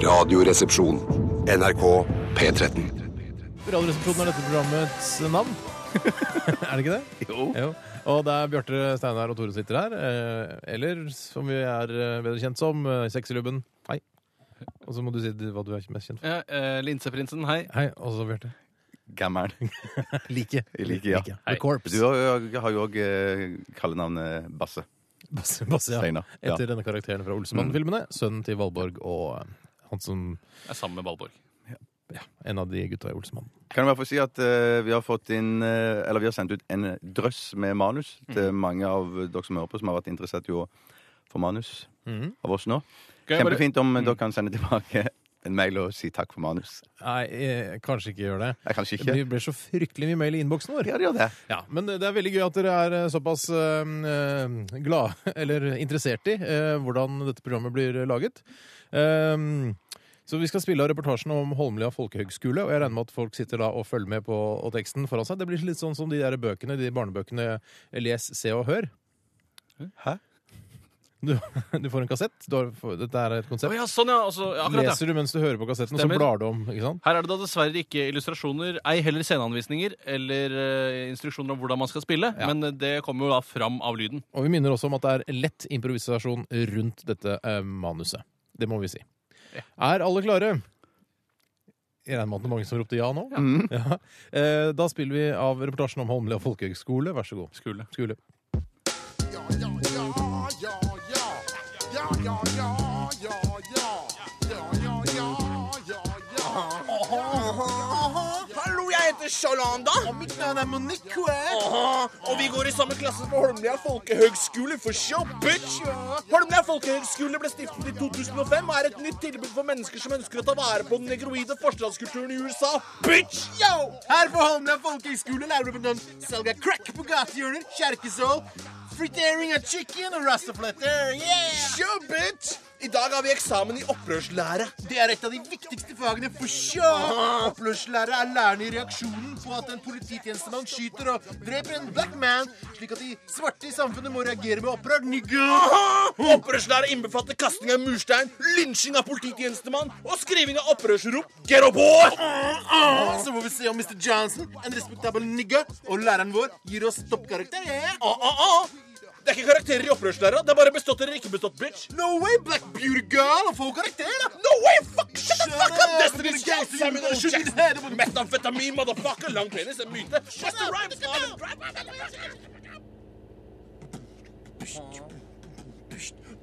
Radioresepsjon. NRK P13.
Radioresepsjonen er dette programmets navn. [LAUGHS] er det ikke det? Jo. Og det er Bjarte, Steinar og Tore som sitter her. eh, Eller som vi er eh, bedre kjent som, eh, Sexylubben. Hei. Og så må du si hva du er mest kjent for.
Ja, eh, Linseprinsen, hei.
Hei, og så Bjarte.
Gammel. [LAUGHS]
Like.
Like, ja.
The Corps.
Du har jo- har jo òg kallenavnet Basse.
Basse, Basse, ja.
Steinar, ja. Mm.
Etter denne karakteren fra Olsemann-filmene. Sønnen til Valborg og eh, han som
Jeg er sammen med Valborg.
ja, En av de gutta i Olsemann.
Kan jeg bare få si at eh, vi har fått inn eh, Eller vi har sendt ut en drøss med manus til mange av dere som hører på, som har vært interessert i å få manus av oss nå.
Kan jeg bare-
Kjempefint om dere kan sende tilbake en mail og si takk for manus.
Nei, eh, kanskje ikke gjør det.
Jeg kanskje
Det
ikke.
blir- blir så fryktelig mye mail i innboksen vår.
Ja, det gjør det.
Ja, Men det er veldig gøy at dere er eh, såpass uh, glad, [LAUGHS] eller interessert i, eh, hvordan dette programmet blir laget. Ehm, så vi skal spille av reportasjen om Holmlia folkehøgskole, og jeg regner med at folk sitter da og følger med på og teksten foran seg. Det blir litt sånn som de der bøkene, de barnebøkene Les, se og hør.
Hæ?
Du, [LAUGHS] du får en kassett. Du har, får- dette er et
Å
konsept.
ja, sånn, ja. Altså, ja, akkurat, ja.
Leser du mens du hører på kassetten, og så
Stemmer.
blar du om. ikke sant?
Her er det da dessverre ikke illustrasjoner, ei heller sceneanvisninger eller eh, instruksjoner om hvordan man skal spille,
Ja.
men eh, det kommer jo da fram av lyden.
Og vi minner også om at det er lett improvisasjon rundt dette eh, manuset. Det må vi si. Er alle klare? Jeg regner med at det er mange som ropte ja nå. Ja. Eh, da spiller vi av reportasjen om Holmlia folkehøgskole. Vær så god.
Skole.
Skole.
Hallo, jeg heter Shalanda. Og mitt navn er Monique. og vi går i samme klasse på Holmlia folkehøgskole for show, bitch. Holmlia folkehøgskole ble stiftet i 2005 og er et nytt tilbud for mennesker som ønsker å ta vare på den negroide forstadskulturen i USA, bitch. Yo! Her på Holmlia folkehøgskole lærer du hvordan salg av crack på gatehjørner, kjerkesål, fritering av chicken og rastafletter. Yeah! Show, bitch! I dag har vi eksamen i opprørslære. Det er et av de viktigste fagene for sjå. Opprørslære er lærerne i reaksjonen på at en polititjenestemann skyter og dreper en black man, slik at de svarte i samfunnet må reagere med opprør. Nigga! Opprørslære innbefatter kasting av murstein, lynsjing av polititjenestemann og skriving av opprørsrop. Get up, boy!
Ah,
Så får vi se om Mr. Johnson, en respektabel nigga, og læreren vår gir oss toppkarakter. Yeah.
ah, Det er ikke karakterer i opprørslæra. Det er bare bestått eller ikke bestått, bitch. No way, black beauty girl. Få karakter, da. No way, fuck, shut the fuck up. Destiny's Child, Samuel L. Jackson. Metafetamin, motherfucker. Lang penis, en myte. Buster Rhymes, Arlen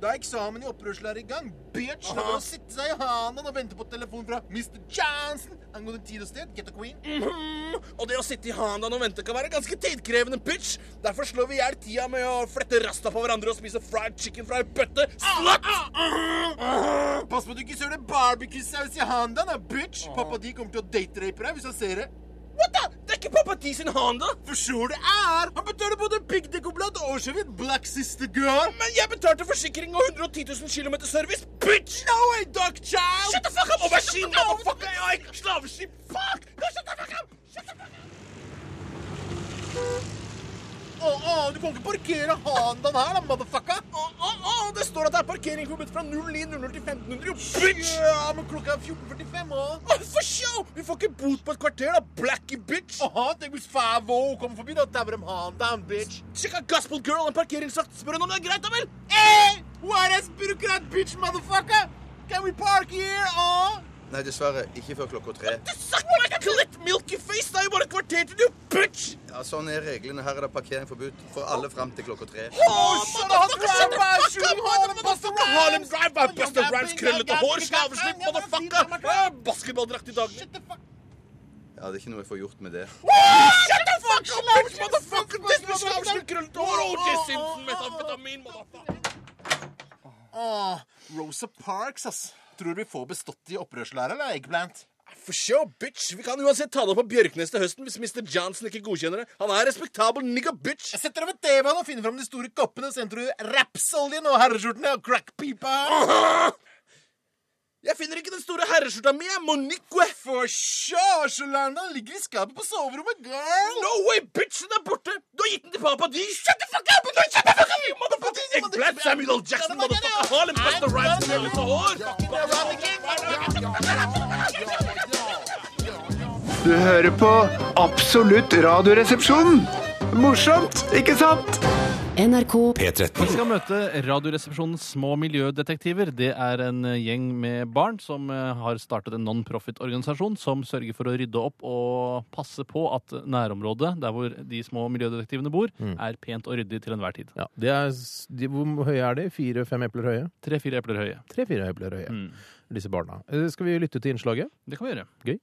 Da er eksamen i opprørslærer i gang. Bitch, la
Aha.
meg sitte seg i hanen og vente på telefon fra Mr. Johnson angående tid og sted. Get the queen.
Mhm. Og det å sitte i Handan og vente kan være ganske tidkrevende, bitch. Derfor slår vi i hjel tida med å flette rasta på hverandre og spise fried chicken fra ei bøtte. Slut!
Ah, Pass på at du ikke søler barbecue-saus i handa, da,
Ah.
bitch! Pappa de kommer til å date-rape deg hvis han ser det. What da? Det er ikke pappa de sin
Ah.
handa! For sure det er! Han betaler både piggdekkoblatt og årsavgift, black sister girl! Men jeg betalte forsikring og 110 000 km service, bitch! No way, dog child!
Shut the fuck
oh,
up, aubergine, motherfucker! Jeg er slaveskip, fuck! Nå, shut the fuck up!
Å, å, du kan ikke parkere Hondaen her, da, motherfucka! Å, å, å, det står at det er parkering forbudt fra 09.00 til 1500, jo, bitch! Ja, men klokka er 14.45, å. for show! Vi får ikke bot på et kvarter, da, blackie bitch! Aha, tenk hvis Favo kommer forbi, da dauer de Hondaen, bitch. Sjekk av Gospel Girl en parkeringsvakt, spør henne om det er greit, da vel? Hey, what is bureaucrat bitch, motherfucka? Can we park here, å?
Nei, dessverre. Ikke før klokka tre.
Suck my clit, milky face! Det er jo bare et kvarter til du, bitch!
Ja, Sånn er reglene. Her er det parkering forbudt for alle fram til klokka tre.
Oh, shut up, shut the fuck up, motherfucker!
Harlem Drive by Buster Rhymes, krøllete hår, slaveslipp, motherfucker! Eh, Basketballdrakt i dag.
Ja, Det er ikke noe jeg får gjort med det.
Ah, Shut the fuck up, bitch, motherfucker! This bitch slaveslipp, krøllete hår, O.J. Simpson, metamfetamin, motherfucker!
Åh, Rosa Parks, ass. Tror du vi får bestått i opprørslære, eller, Eggplant? For sure, bitch. Vi kan uansett
Ta det opp på Bjørknes til høsten hvis Mr. Johnson ikke godkjenner det. Han er respektabel nigga bitch.
Jeg setter over TV-en og finner fram de store koppene, så henter du rapsoljen og herreskjortene og crackpipa.
[LAUGHS]
Jeg finner ikke den store herreskjorta mi, jeg, Monique. For sure, Solana ligger i skapet på soverommet, girl. No way, bitch, den er borte. Du har gitt den til pappa di. Shut the fuck up! Shut the fuck up, you motherfucker!
Blatt Samuel L. Jackson, motherfucker. Harlem Buster Rhymes, krøllete hår.
Du hører på Absolutt radioresepsjon. Morsomt, ikke sant?
NRK
P13.
Vi skal møte Radioresepsjonens små miljødetektiver. Det er en eh, gjeng med barn som eh, har startet en non-profit-organisasjon som sørger for å rydde opp og passe på at nærområdet der hvor de små miljødetektivene bor,
Mm.
er pent og ryddig til enhver tid.
Det er, s- de, hvor høye er de? Fire-fem epler høye?
Tre-fire epler høye.
Tre-fire epler høye. Disse barna. Eh, Skal vi lytte til innslaget?
Det kan vi gjøre.
Gøy.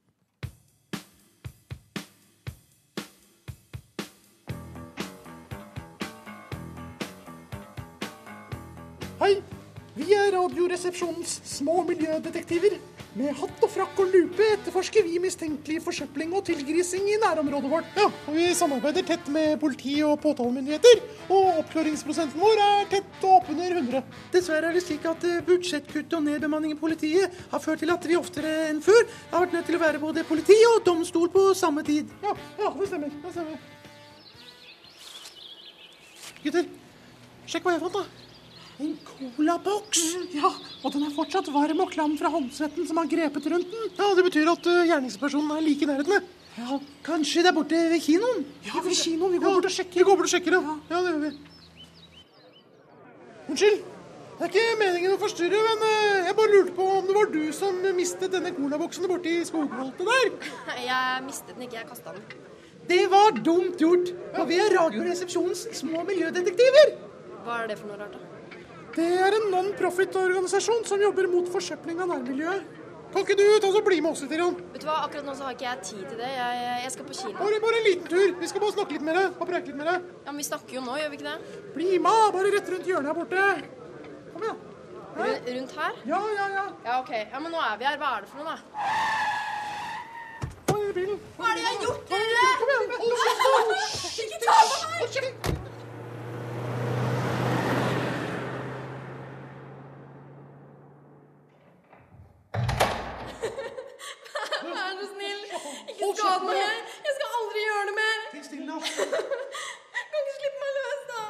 Hei, vi er Radioresepsjonens små miljødetektiver. Med hatt og frakk og lupe etterforsker vi mistenkelig forsøpling og tilgrising i nærområdet vårt. Ja, og Vi samarbeider tett med politi og påtalemyndigheter, og oppklaringsprosenten vår er tett og oppunder 100.
Dessverre er det slik at eh, budsjettkutt og nedbemanning i politiet har ført til at vi oftere enn før har vært nødt til å være både politi og domstol på samme tid.
Ja, ja, det stemmer. det stemmer. Gutter, sjekk hva jeg fant, da. En colaboks? Ja, og den er fortsatt varm og klam fra håndsvetten som har grepet rundt den. Ja, Det betyr at ø, gjerningspersonen er like i nærheten. Ja, Kanskje det er borte ved kinoen? Ja, ved kinoen. Vi går bort og sjekker. Vi går bort og sjekker, ja. ja, det gjør vi. Unnskyld. Det er ikke meningen å forstyrre, men ø, jeg bare lurte på om det var du som mistet denne colaboksen borti skogholtet der?
Jeg mistet den ikke, jeg kasta den.
Det var dumt gjort. Og vi er Radioresepsjonens små miljødetektiver.
Hva er det for noe rart, da?
Det er en non-profit-organisasjon som jobber mot forsøpling av nærmiljøet. Kan ikke du ta oss og bli med oss litt? Grann?
Vet du hva, Akkurat nå så har ikke jeg tid til det. Jeg, jeg skal på kino.
Bare, bare en liten tur. Vi skal bare snakke litt med deg og preike litt med deg.
Ja, men Vi snakker jo nå, gjør vi ikke det?
Bli med! Bare rett rundt hjørnet her borte.
Ru- Rundt her?
Ja, ja, ja.
Ja, ok. Ja, Men nå er vi her. Hva er det for noe, da?
Hva er det bilen?
Hva er det jeg har gjort,
dere? Kom igjen! Hold kjeft! Ikke ta på meg!
Vær så snill, ikke skad meg. Jeg skal aldri gjøre det mer.
Tenk stille,
[LAUGHS] Kan ikke slippe meg løs, da.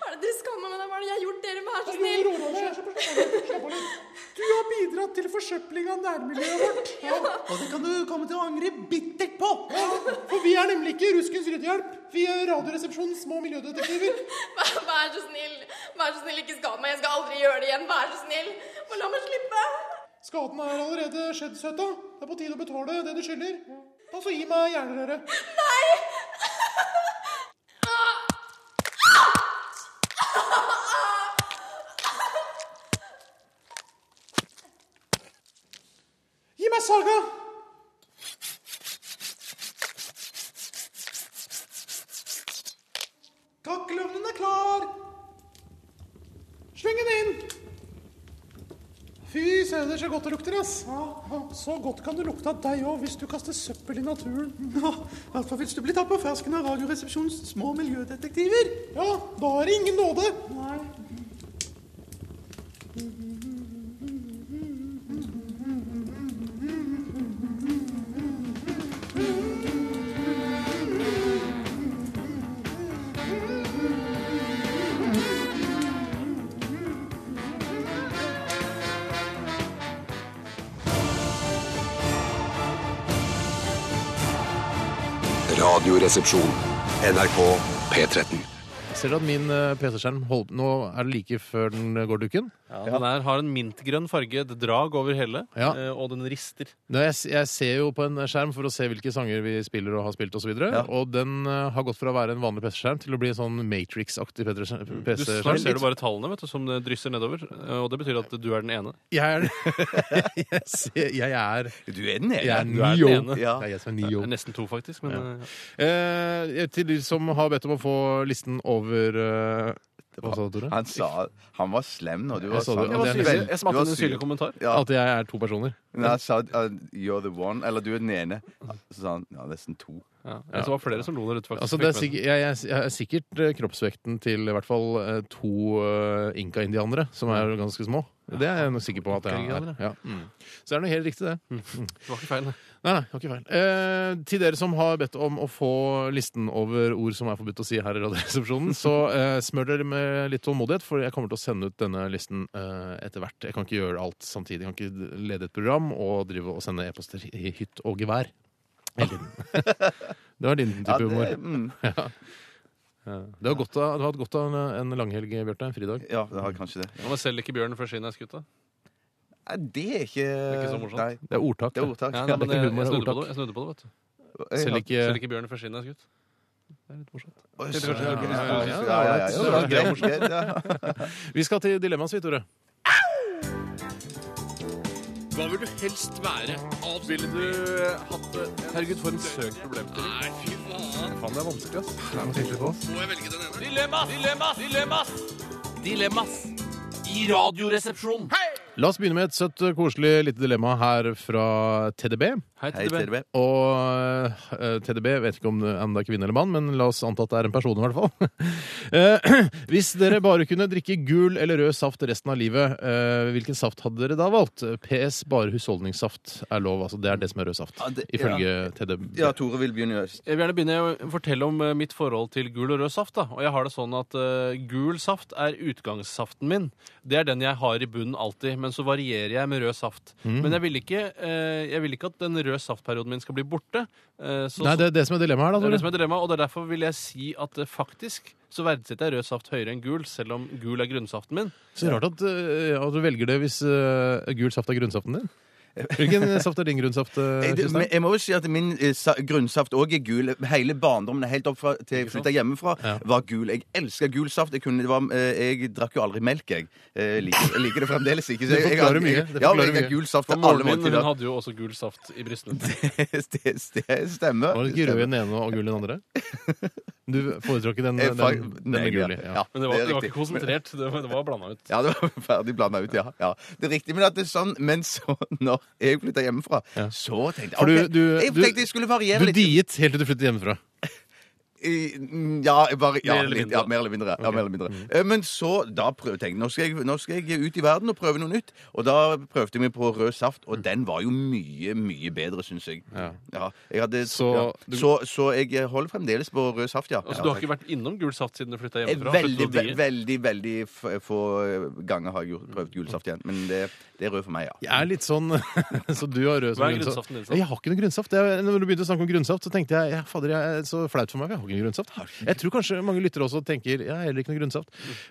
Hva er det dere skammer meg da? Hva er det jeg har gjort dere? Vær så
Ro
snill.
deg ned. Slapp av litt, slapp av litt. Du har bidratt til
[LAUGHS]
forsøpling av nærmiljøet vårt.
Og det kan du komme til å angre bittert på.
For vi er
er nemlig ikke Ruskens ryddehjelp. Vi er Radioresepsjonens små miljødetektiver.
[LAUGHS] Vær, vær så snill. Vær så snill, ikke skad meg. Jeg skal aldri gjøre det igjen. Vær så snill. Og la meg slippe.
Skaden er allerede skjedd, søta. Det er på tide å betale det du skylder. Altså, gi meg jernrøret.
Nei!
Gi meg saga! Kakkelovnen er klar! Sleng den inn! Fy søder, så godt det lukter, ass. Så godt kan det lukte av deg òg hvis du kaster søppel i naturen.
Nå, hvertfall hvis du blir tatt på fersken av Radioresepsjonens små miljødetektiver.
Ja, da er det ingen nåde.
Nei.
Radioresepsjon. NRK P13.
Ser du at min eh, PC-skjerm holder Nå er det like før den går dukken.
Ja, den er, har en mintgrønn farge, et drag over hele,
Ja.
eh, og den rister.
Nå, jeg, s- jeg ser jo på en skjerm for å se hvilke sanger vi spiller og har spilt osv. videre Og den eh, har gått fra å være en vanlig PC-skjerm til å bli en sånn Matrix-aktig PC-skjerm.
Du, snart ser du bare tallene vet du, som det drysser nedover, eh, og det betyr at du er den ene.
Jeg er [LAUGHS] jeg, ser, jeg er
Du er den ene.
Jeg er
Du er den
Neo.
ene.
Det er jeg som er Neo.
Det er Nesten to, faktisk. Men, eh,
Eh, til de som har bedt om å få listen over eh, Hva sa du, Tore?
Han sa Han var slem når du
Jeg
var
sa det.
sammen.
Jeg var
Det er
syrlig.
nesten-
Jeg smakte
du var
en syrlig
syrlig.
kommentar.
Ja.
At jeg er to personer.
Men han sa uh, 'you're the one', eller 'du er den ene'. Så sa han ja, nesten to.
Ja. Det var flere som lo der ute, faktisk.
Altså, det er sikk- jeg, jeg, jeg er sikkert eh, kroppsvekten til i hvert fall eh, to eh, inka-indianere, som er ganske små. Det er jeg nok sikker på at jeg er.
Inka-indianere?
Ja. Mm. Så det er noe helt riktig, det. Mm.
Det var ikke feil, det.
Nei, nei, det var ikke feil. Eh, til dere som har bedt om å få listen over ord som er forbudt å si her i Radioresepsjonen, så eh, smør dere med litt tålmodighet, for jeg kommer til å sende ut denne listen eh, etter hvert. Jeg kan ikke gjøre alt samtidig. Jeg kan ikke lede et program og drive og sende e-poster i hytt og gevær. Hele tiden. det var din
Ja,
type
det-
humor.
mm.
Ja. Ja. Det var godt av, du har hatt godt av en, en langhelg, Bjarte. En fridag.
Ja, det har kanskje det.
Nå må selv ikke bjørnen før skinnet er skutt, da.
Nei, Det er ikke
Det er ikke så morsomt.
Nei.
Det er ordtak,
Det er
det.
ordtak.
Ja,
Ja,
nei, men
det er
jeg,
ikke humor, det
jeg,
er
snudde
ordtak.
på det, jeg snudde på det, vet du.
Selv ikke-
Selv ikke bjørnen før skinnet er skutt. Det er litt morsomt.
Oi,
Tenkte
så-
kanskje det var-
ja, ja, ja,
Ja, ja,
ja,
ja,
ja,
det var
ja,
greit,
greit,
morsomt.
Vi skal til dilemmaet sitt, Tore.
Hva vil du helst være? Ville du hatt det? Herregud, for en søk problemstilling. Nei, fy faen.
Faen, det er vanskelig, ass.
Må jeg velge den ene? Dilemmas! Dilemmas! Dilemmas! Dilemmas! I radioresepsjonen.
La oss begynne med et søtt, koselig lite dilemma her fra TDB.
Hei, TDB. Hei, TDB.
Og eh, TDB vet ikke om det, om det er kvinne eller mann, men la oss anta at det er en person, i hvert fall. [LAUGHS] Eh, [CLEARS THROAT] Hvis dere bare kunne drikke gul eller rød saft resten av livet, eh, hvilken saft hadde dere da valgt? PS, bare husholdningssaft er lov. altså Det er det som er rød saft, ifølge TDB.
Ja, Tore vil begynne.
Jeg vil gjerne begynne å fortelle om eh, mitt forhold til gul og rød saft. da. Og jeg har det sånn at eh, Gul saft er utgangssaften min. Det er den jeg har i bunnen alltid. Men så varierer jeg med rød saft.
Mm.
Men jeg vil, ikke, eh, jeg vil ikke at den røde saftperioden min skal bli borte. Eh, så-
Nei, det er det som er dilemmaet her, da.
Det er
Tore.
det som er dilemmaet, og det er derfor vil jeg si at eh, faktisk så verdsetter jeg rød saft høyere enn gul, selv om gul er grunnsaften min.
Så rart at, eh, at du velger det hvis eh, gul saft er grunnsaften din. Hvilken saft er din grunnsaft? eh,
Jeg, det-
Kristian?
men jeg må jo si at min eh, sa- grunnsaft òg er gul. Hele barndommen helt opp fra, til jeg flytta hjemmefra, var gul. Jeg elska gul saft. Jeg, kunne, det var, eh, jeg drakk jo aldri melk, jeg. Eh, liker, jeg liker det fremdeles ikke.
Det
jeg, jeg,
forklarer
jeg,
mye, det
ja,
forklarer
jeg har
mye.
gul saft
For
på
moren
alle
min hun
måltider.
hadde jo også gul saft i brystene.
[LAUGHS] det, det stemmer.
Var det ikke rød i den ene og gul i den andre? Du foretrakk den,
Jeg
den,
fak-
den,
Nei,
med
ja.
gul i. Ja.
Ja,
Men det var,
det Eh, er
det var
riktig.
ikke konsentrert, det var, det var blanda ut.
Ja, det var [LAUGHS] ferdig blanda ut, ja. ja. Det er riktig, men at det er sånn Men så, [LAUGHS] når jeg flytta hjemmefra, så tenkte jeg
For du,
ok,
du,
Jeg
du,
tenkte jeg skulle variere
du
litt.
diet helt til du flyttet hjemmefra.
I- mm, Ja, jeg bare, ja,
Mer eller
litt,
mindre.
ja, mer eller mindre. Ja,
Ok.
mer eller mindre. Eh, Men så da prøv, tenkte jeg nå skal, jeg nå skal jeg ut i verden og prøve noe nytt. Og da prøvde jeg meg på rød saft, og den var jo mye, mye bedre, syns jeg. Ja. jeg hadde, så, ja. så, så jeg holder fremdeles på rød saft, ja.
Altså, du har ikke vært innom gul saft siden du flytta
Eh,
hjemmefra?
Veldig,
Flyttet til
ve
Diet.
veldig veldig f få ganger har jeg gjort- prøvd gul saft igjen. Men det, det er rød for meg, ja.
Jeg er litt sånn [LAUGHS] Så du har rød som
Hva
grønnsaft.
er grønnsaften din, sant?
Jeg har ikke noe grønnsaft. Jeg, når du begynte å snakke om grønnsaft, så tenkte jeg ja, fader, jeg er så flaut for meg. Jeg har ikke noe grønnsaft. Jeg tror kanskje mange lyttere også tenker jeg har heller ikke noe grønnsaft.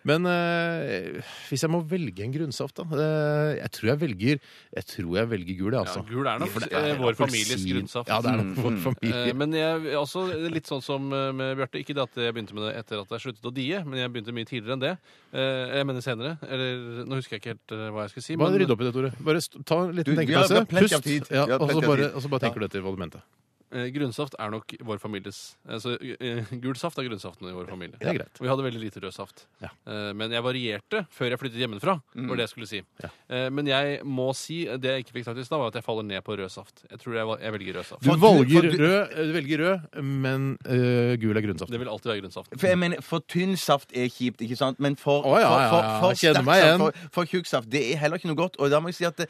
Men eh, hvis jeg må velge en grønnsaft, da eh, Jeg tror jeg velger Jeg tror jeg velger gul, jeg, altså.
Ja, gul er nok
For det
eh, vår
appelsin.
families grunnsaft.
Ja, det er nok vår
Eh,
familie.
Men jeg er også litt sånn som eh, med Bjarte. Ikke det at jeg begynte med det etter at jeg sluttet å die, men jeg begynte mye tidligere enn det. Eh, Jeg mener senere. Eller nå husker jeg ikke helt eh, hva jeg skulle si.
Bare
men-
rydd opp i det, Tore. Bare st ta en
Du,
liten
vi har-
tenkepause.
vi har plenty av tid.
Ja,
Vi har
og så
plenty av
bare,
tid.
og så bare tenker
Ja.
du etter hva du mente.
Eh, Grønnsaft er nok vår families altså, eh, Gul saft er grønnsaften i vår familie.
Det er greit.
Og vi hadde veldig lite rød saft. Eh, men jeg varierte før jeg flyttet hjemmefra.
Mm.
var det jeg skulle si. Eh, men jeg må si, det jeg ikke fikk sagt i stad, var at jeg faller ned på rød saft. Jeg tror jeg, val- jeg velger rød saft.
Du valger rød, eh, du velger rød men eh, gul er grønnsaft.
Det vil alltid være grønnsaft.
For jeg mener, for tynn saft er kjipt, ikke sant? Men for,
Å, ja, ja,
for,
ja,
for, for
kjenner
sterk
meg
saft,
igjen.
for, for tjukk saft, det er heller ikke noe godt. Og da må jeg si at det,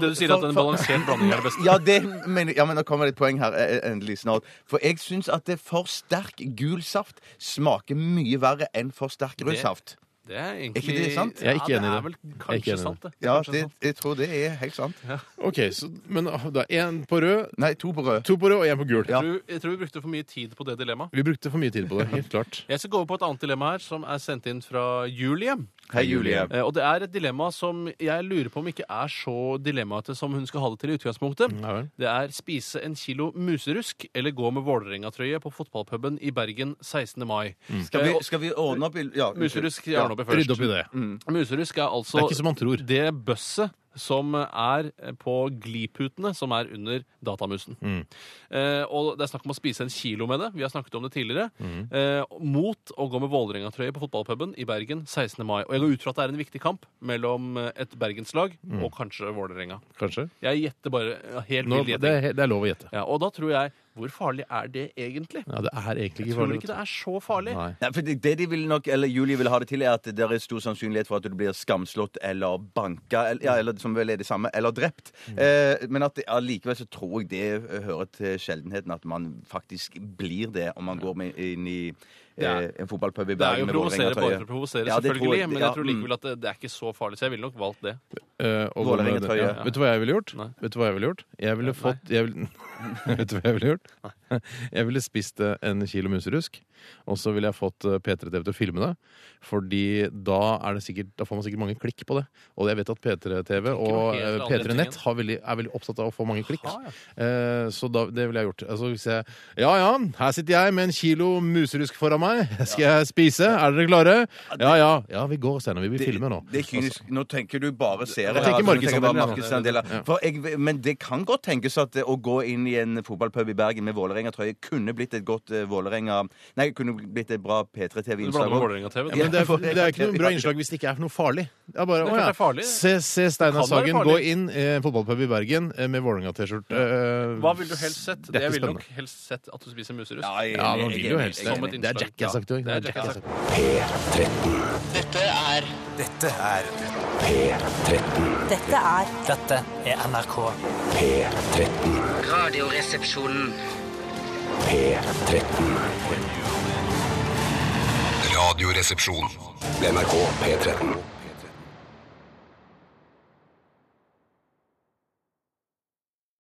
Så det du sier
for-
at en
for-
balansert blanding er det beste?
[LAUGHS] Ja, det mener, ja, men nå kommer det et poeng her eh, endelig snart. For jeg syns at det for sterk gul saft smaker mye verre enn for sterk rød
Det-
saft.
Det er
Er
egentlig
ikke det sant?
Ja, det. er vel kanskje sant, det.
Ja,
Kanskje
det,
sant.
jeg tror det er helt sant.
Ok, så, men ah, da én på rød
Nei, to på rød.
To på rød og én på gul.
Jeg, tror, jeg tror vi brukte for mye tid på det dilemmaet.
Vi brukte for mye tid på det. Helt klart. [LAUGHS]
Jeg skal gå over på et annet dilemma her, som er sendt inn fra Julie.
Hei, Julie.
Eh, Og det er et dilemma som jeg lurer på om ikke er så dilemmaete som hun skal ha det til i utgangspunktet. Det er spise en kilo muserusk eller gå med Vålerenga-trøye på fotballpuben i Bergen 16. mai.
Skal,
Eh,
vi,
og-
skal vi ordne opp i ja, unnskyld.
Muserusk
Ja.
gjerne opp i først. Mm. Muserusk er altså
Det er ikke som man tror.
det bøsset som er på gliputene som er under datamusen.
Mm.
Eh, og det er snakk om å spise en kilo med det. Vi har snakket om det tidligere.
Mm.
Eh, mot å gå med Vålerenga-trøye på fotballpuben i Bergen 16. mai. Og jeg går ut fra at det er en viktig kamp mellom eh, et bergenslag
Mm.
og kanskje Vålerenga.
Kanskje.
Jeg gjetter bare ja, helt
Nå,
vill
det,
gjetning.
er, det er lov å gjette.
Ja, og da tror jeg Hvor farlig er det egentlig?
Ja, det er egentlig ikke
Jeg tror
farlig.
ikke det er så farlig.
Nei.
Nei, for det, det de vil nok, eller Julie vil ha det til, er at det er stor sannsynlighet for at du blir skamslått eller banka, eller, ja, eller som vel er det samme, eller drept.
Mm.
Eh, men at det- allikevel så tror jeg det eh, hører til sjeldenheten at man faktisk blir det om man går med inn i
Det er-
eh, en fotballpub i
Det er jo
Bergen
å
med
provosere
Vålerenga-trøye.
bare for å provosere,
Ja, det tror
selvfølgelig. Men
ja,
jeg tror likevel at det, det er ikke så farlig, så jeg ville nok valgt det.
Eh, og
Vålerenga
hvordan-
trøye.
ja. Vet du hva jeg ville gjort? Vet du hva jeg ville gjort? Jeg ville fått jeg ville, [LAUGHS] Vet du hva jeg ville gjort? [LAUGHS] Jeg ville spist eh, en kilo muserusk, og så ville jeg fått eh, P3 TV til å filme det. Fordi da, er det sikkert, da får man sikkert mange klikk på det. Og jeg vet at P3 TV og
helt
eh,
andre
P3 Nett
tingen.
har veldig, er veldig opptatt av å få mange klikk. Eh, Så da, det ville jeg gjort. Altså, hvis jeg, ja ja, her sitter jeg med en kilo muserusk foran meg. Skal jeg spise? Er dere klare? Ja ja. ja vi går, Steinar. Vi
Det-
filmer nå.
Det er
Altså.
kynisk. Nå tenker du bare seere.
Jeg tenker
altså, nå
markedsandeler,
bare
da.
markedsandeler.
Ja.
For jeg, men det kan godt tenkes at eh, å gå inn i en fotballpub i Bergen med Vålerenga-trøye kunne blitt et godt eh, Vålerenga Nei, kunne blitt et bra
Du
P3-TV-innslag.
blander med Vålerenga-TV, da.
Ja, men det, er, det er ikke noe bra innslag hvis det ikke er noe farlig. Det er bare,
Det er
å
klart
ja.
det er farlig.
Se, se Steinar
Det kan være
Sagen gå
farlig.
inn i en fotballpub i Bergen eh, med Vålerenga-T-skjorte. Eh,
Hva ville du helst sett?
Det er ikke
jeg ville
spennende.
nok helst sett at du spiser muserusk.
Ja, man vil jo helst det.
Som et
Det er
innslag.
Jackass-aktig.
Ja, det er
Det er
Jackass-aktig.
Dette er Dette er
Dette er
Dette er NRK.
Radioresepsjonen.
Radioresepsjon. NRK P13.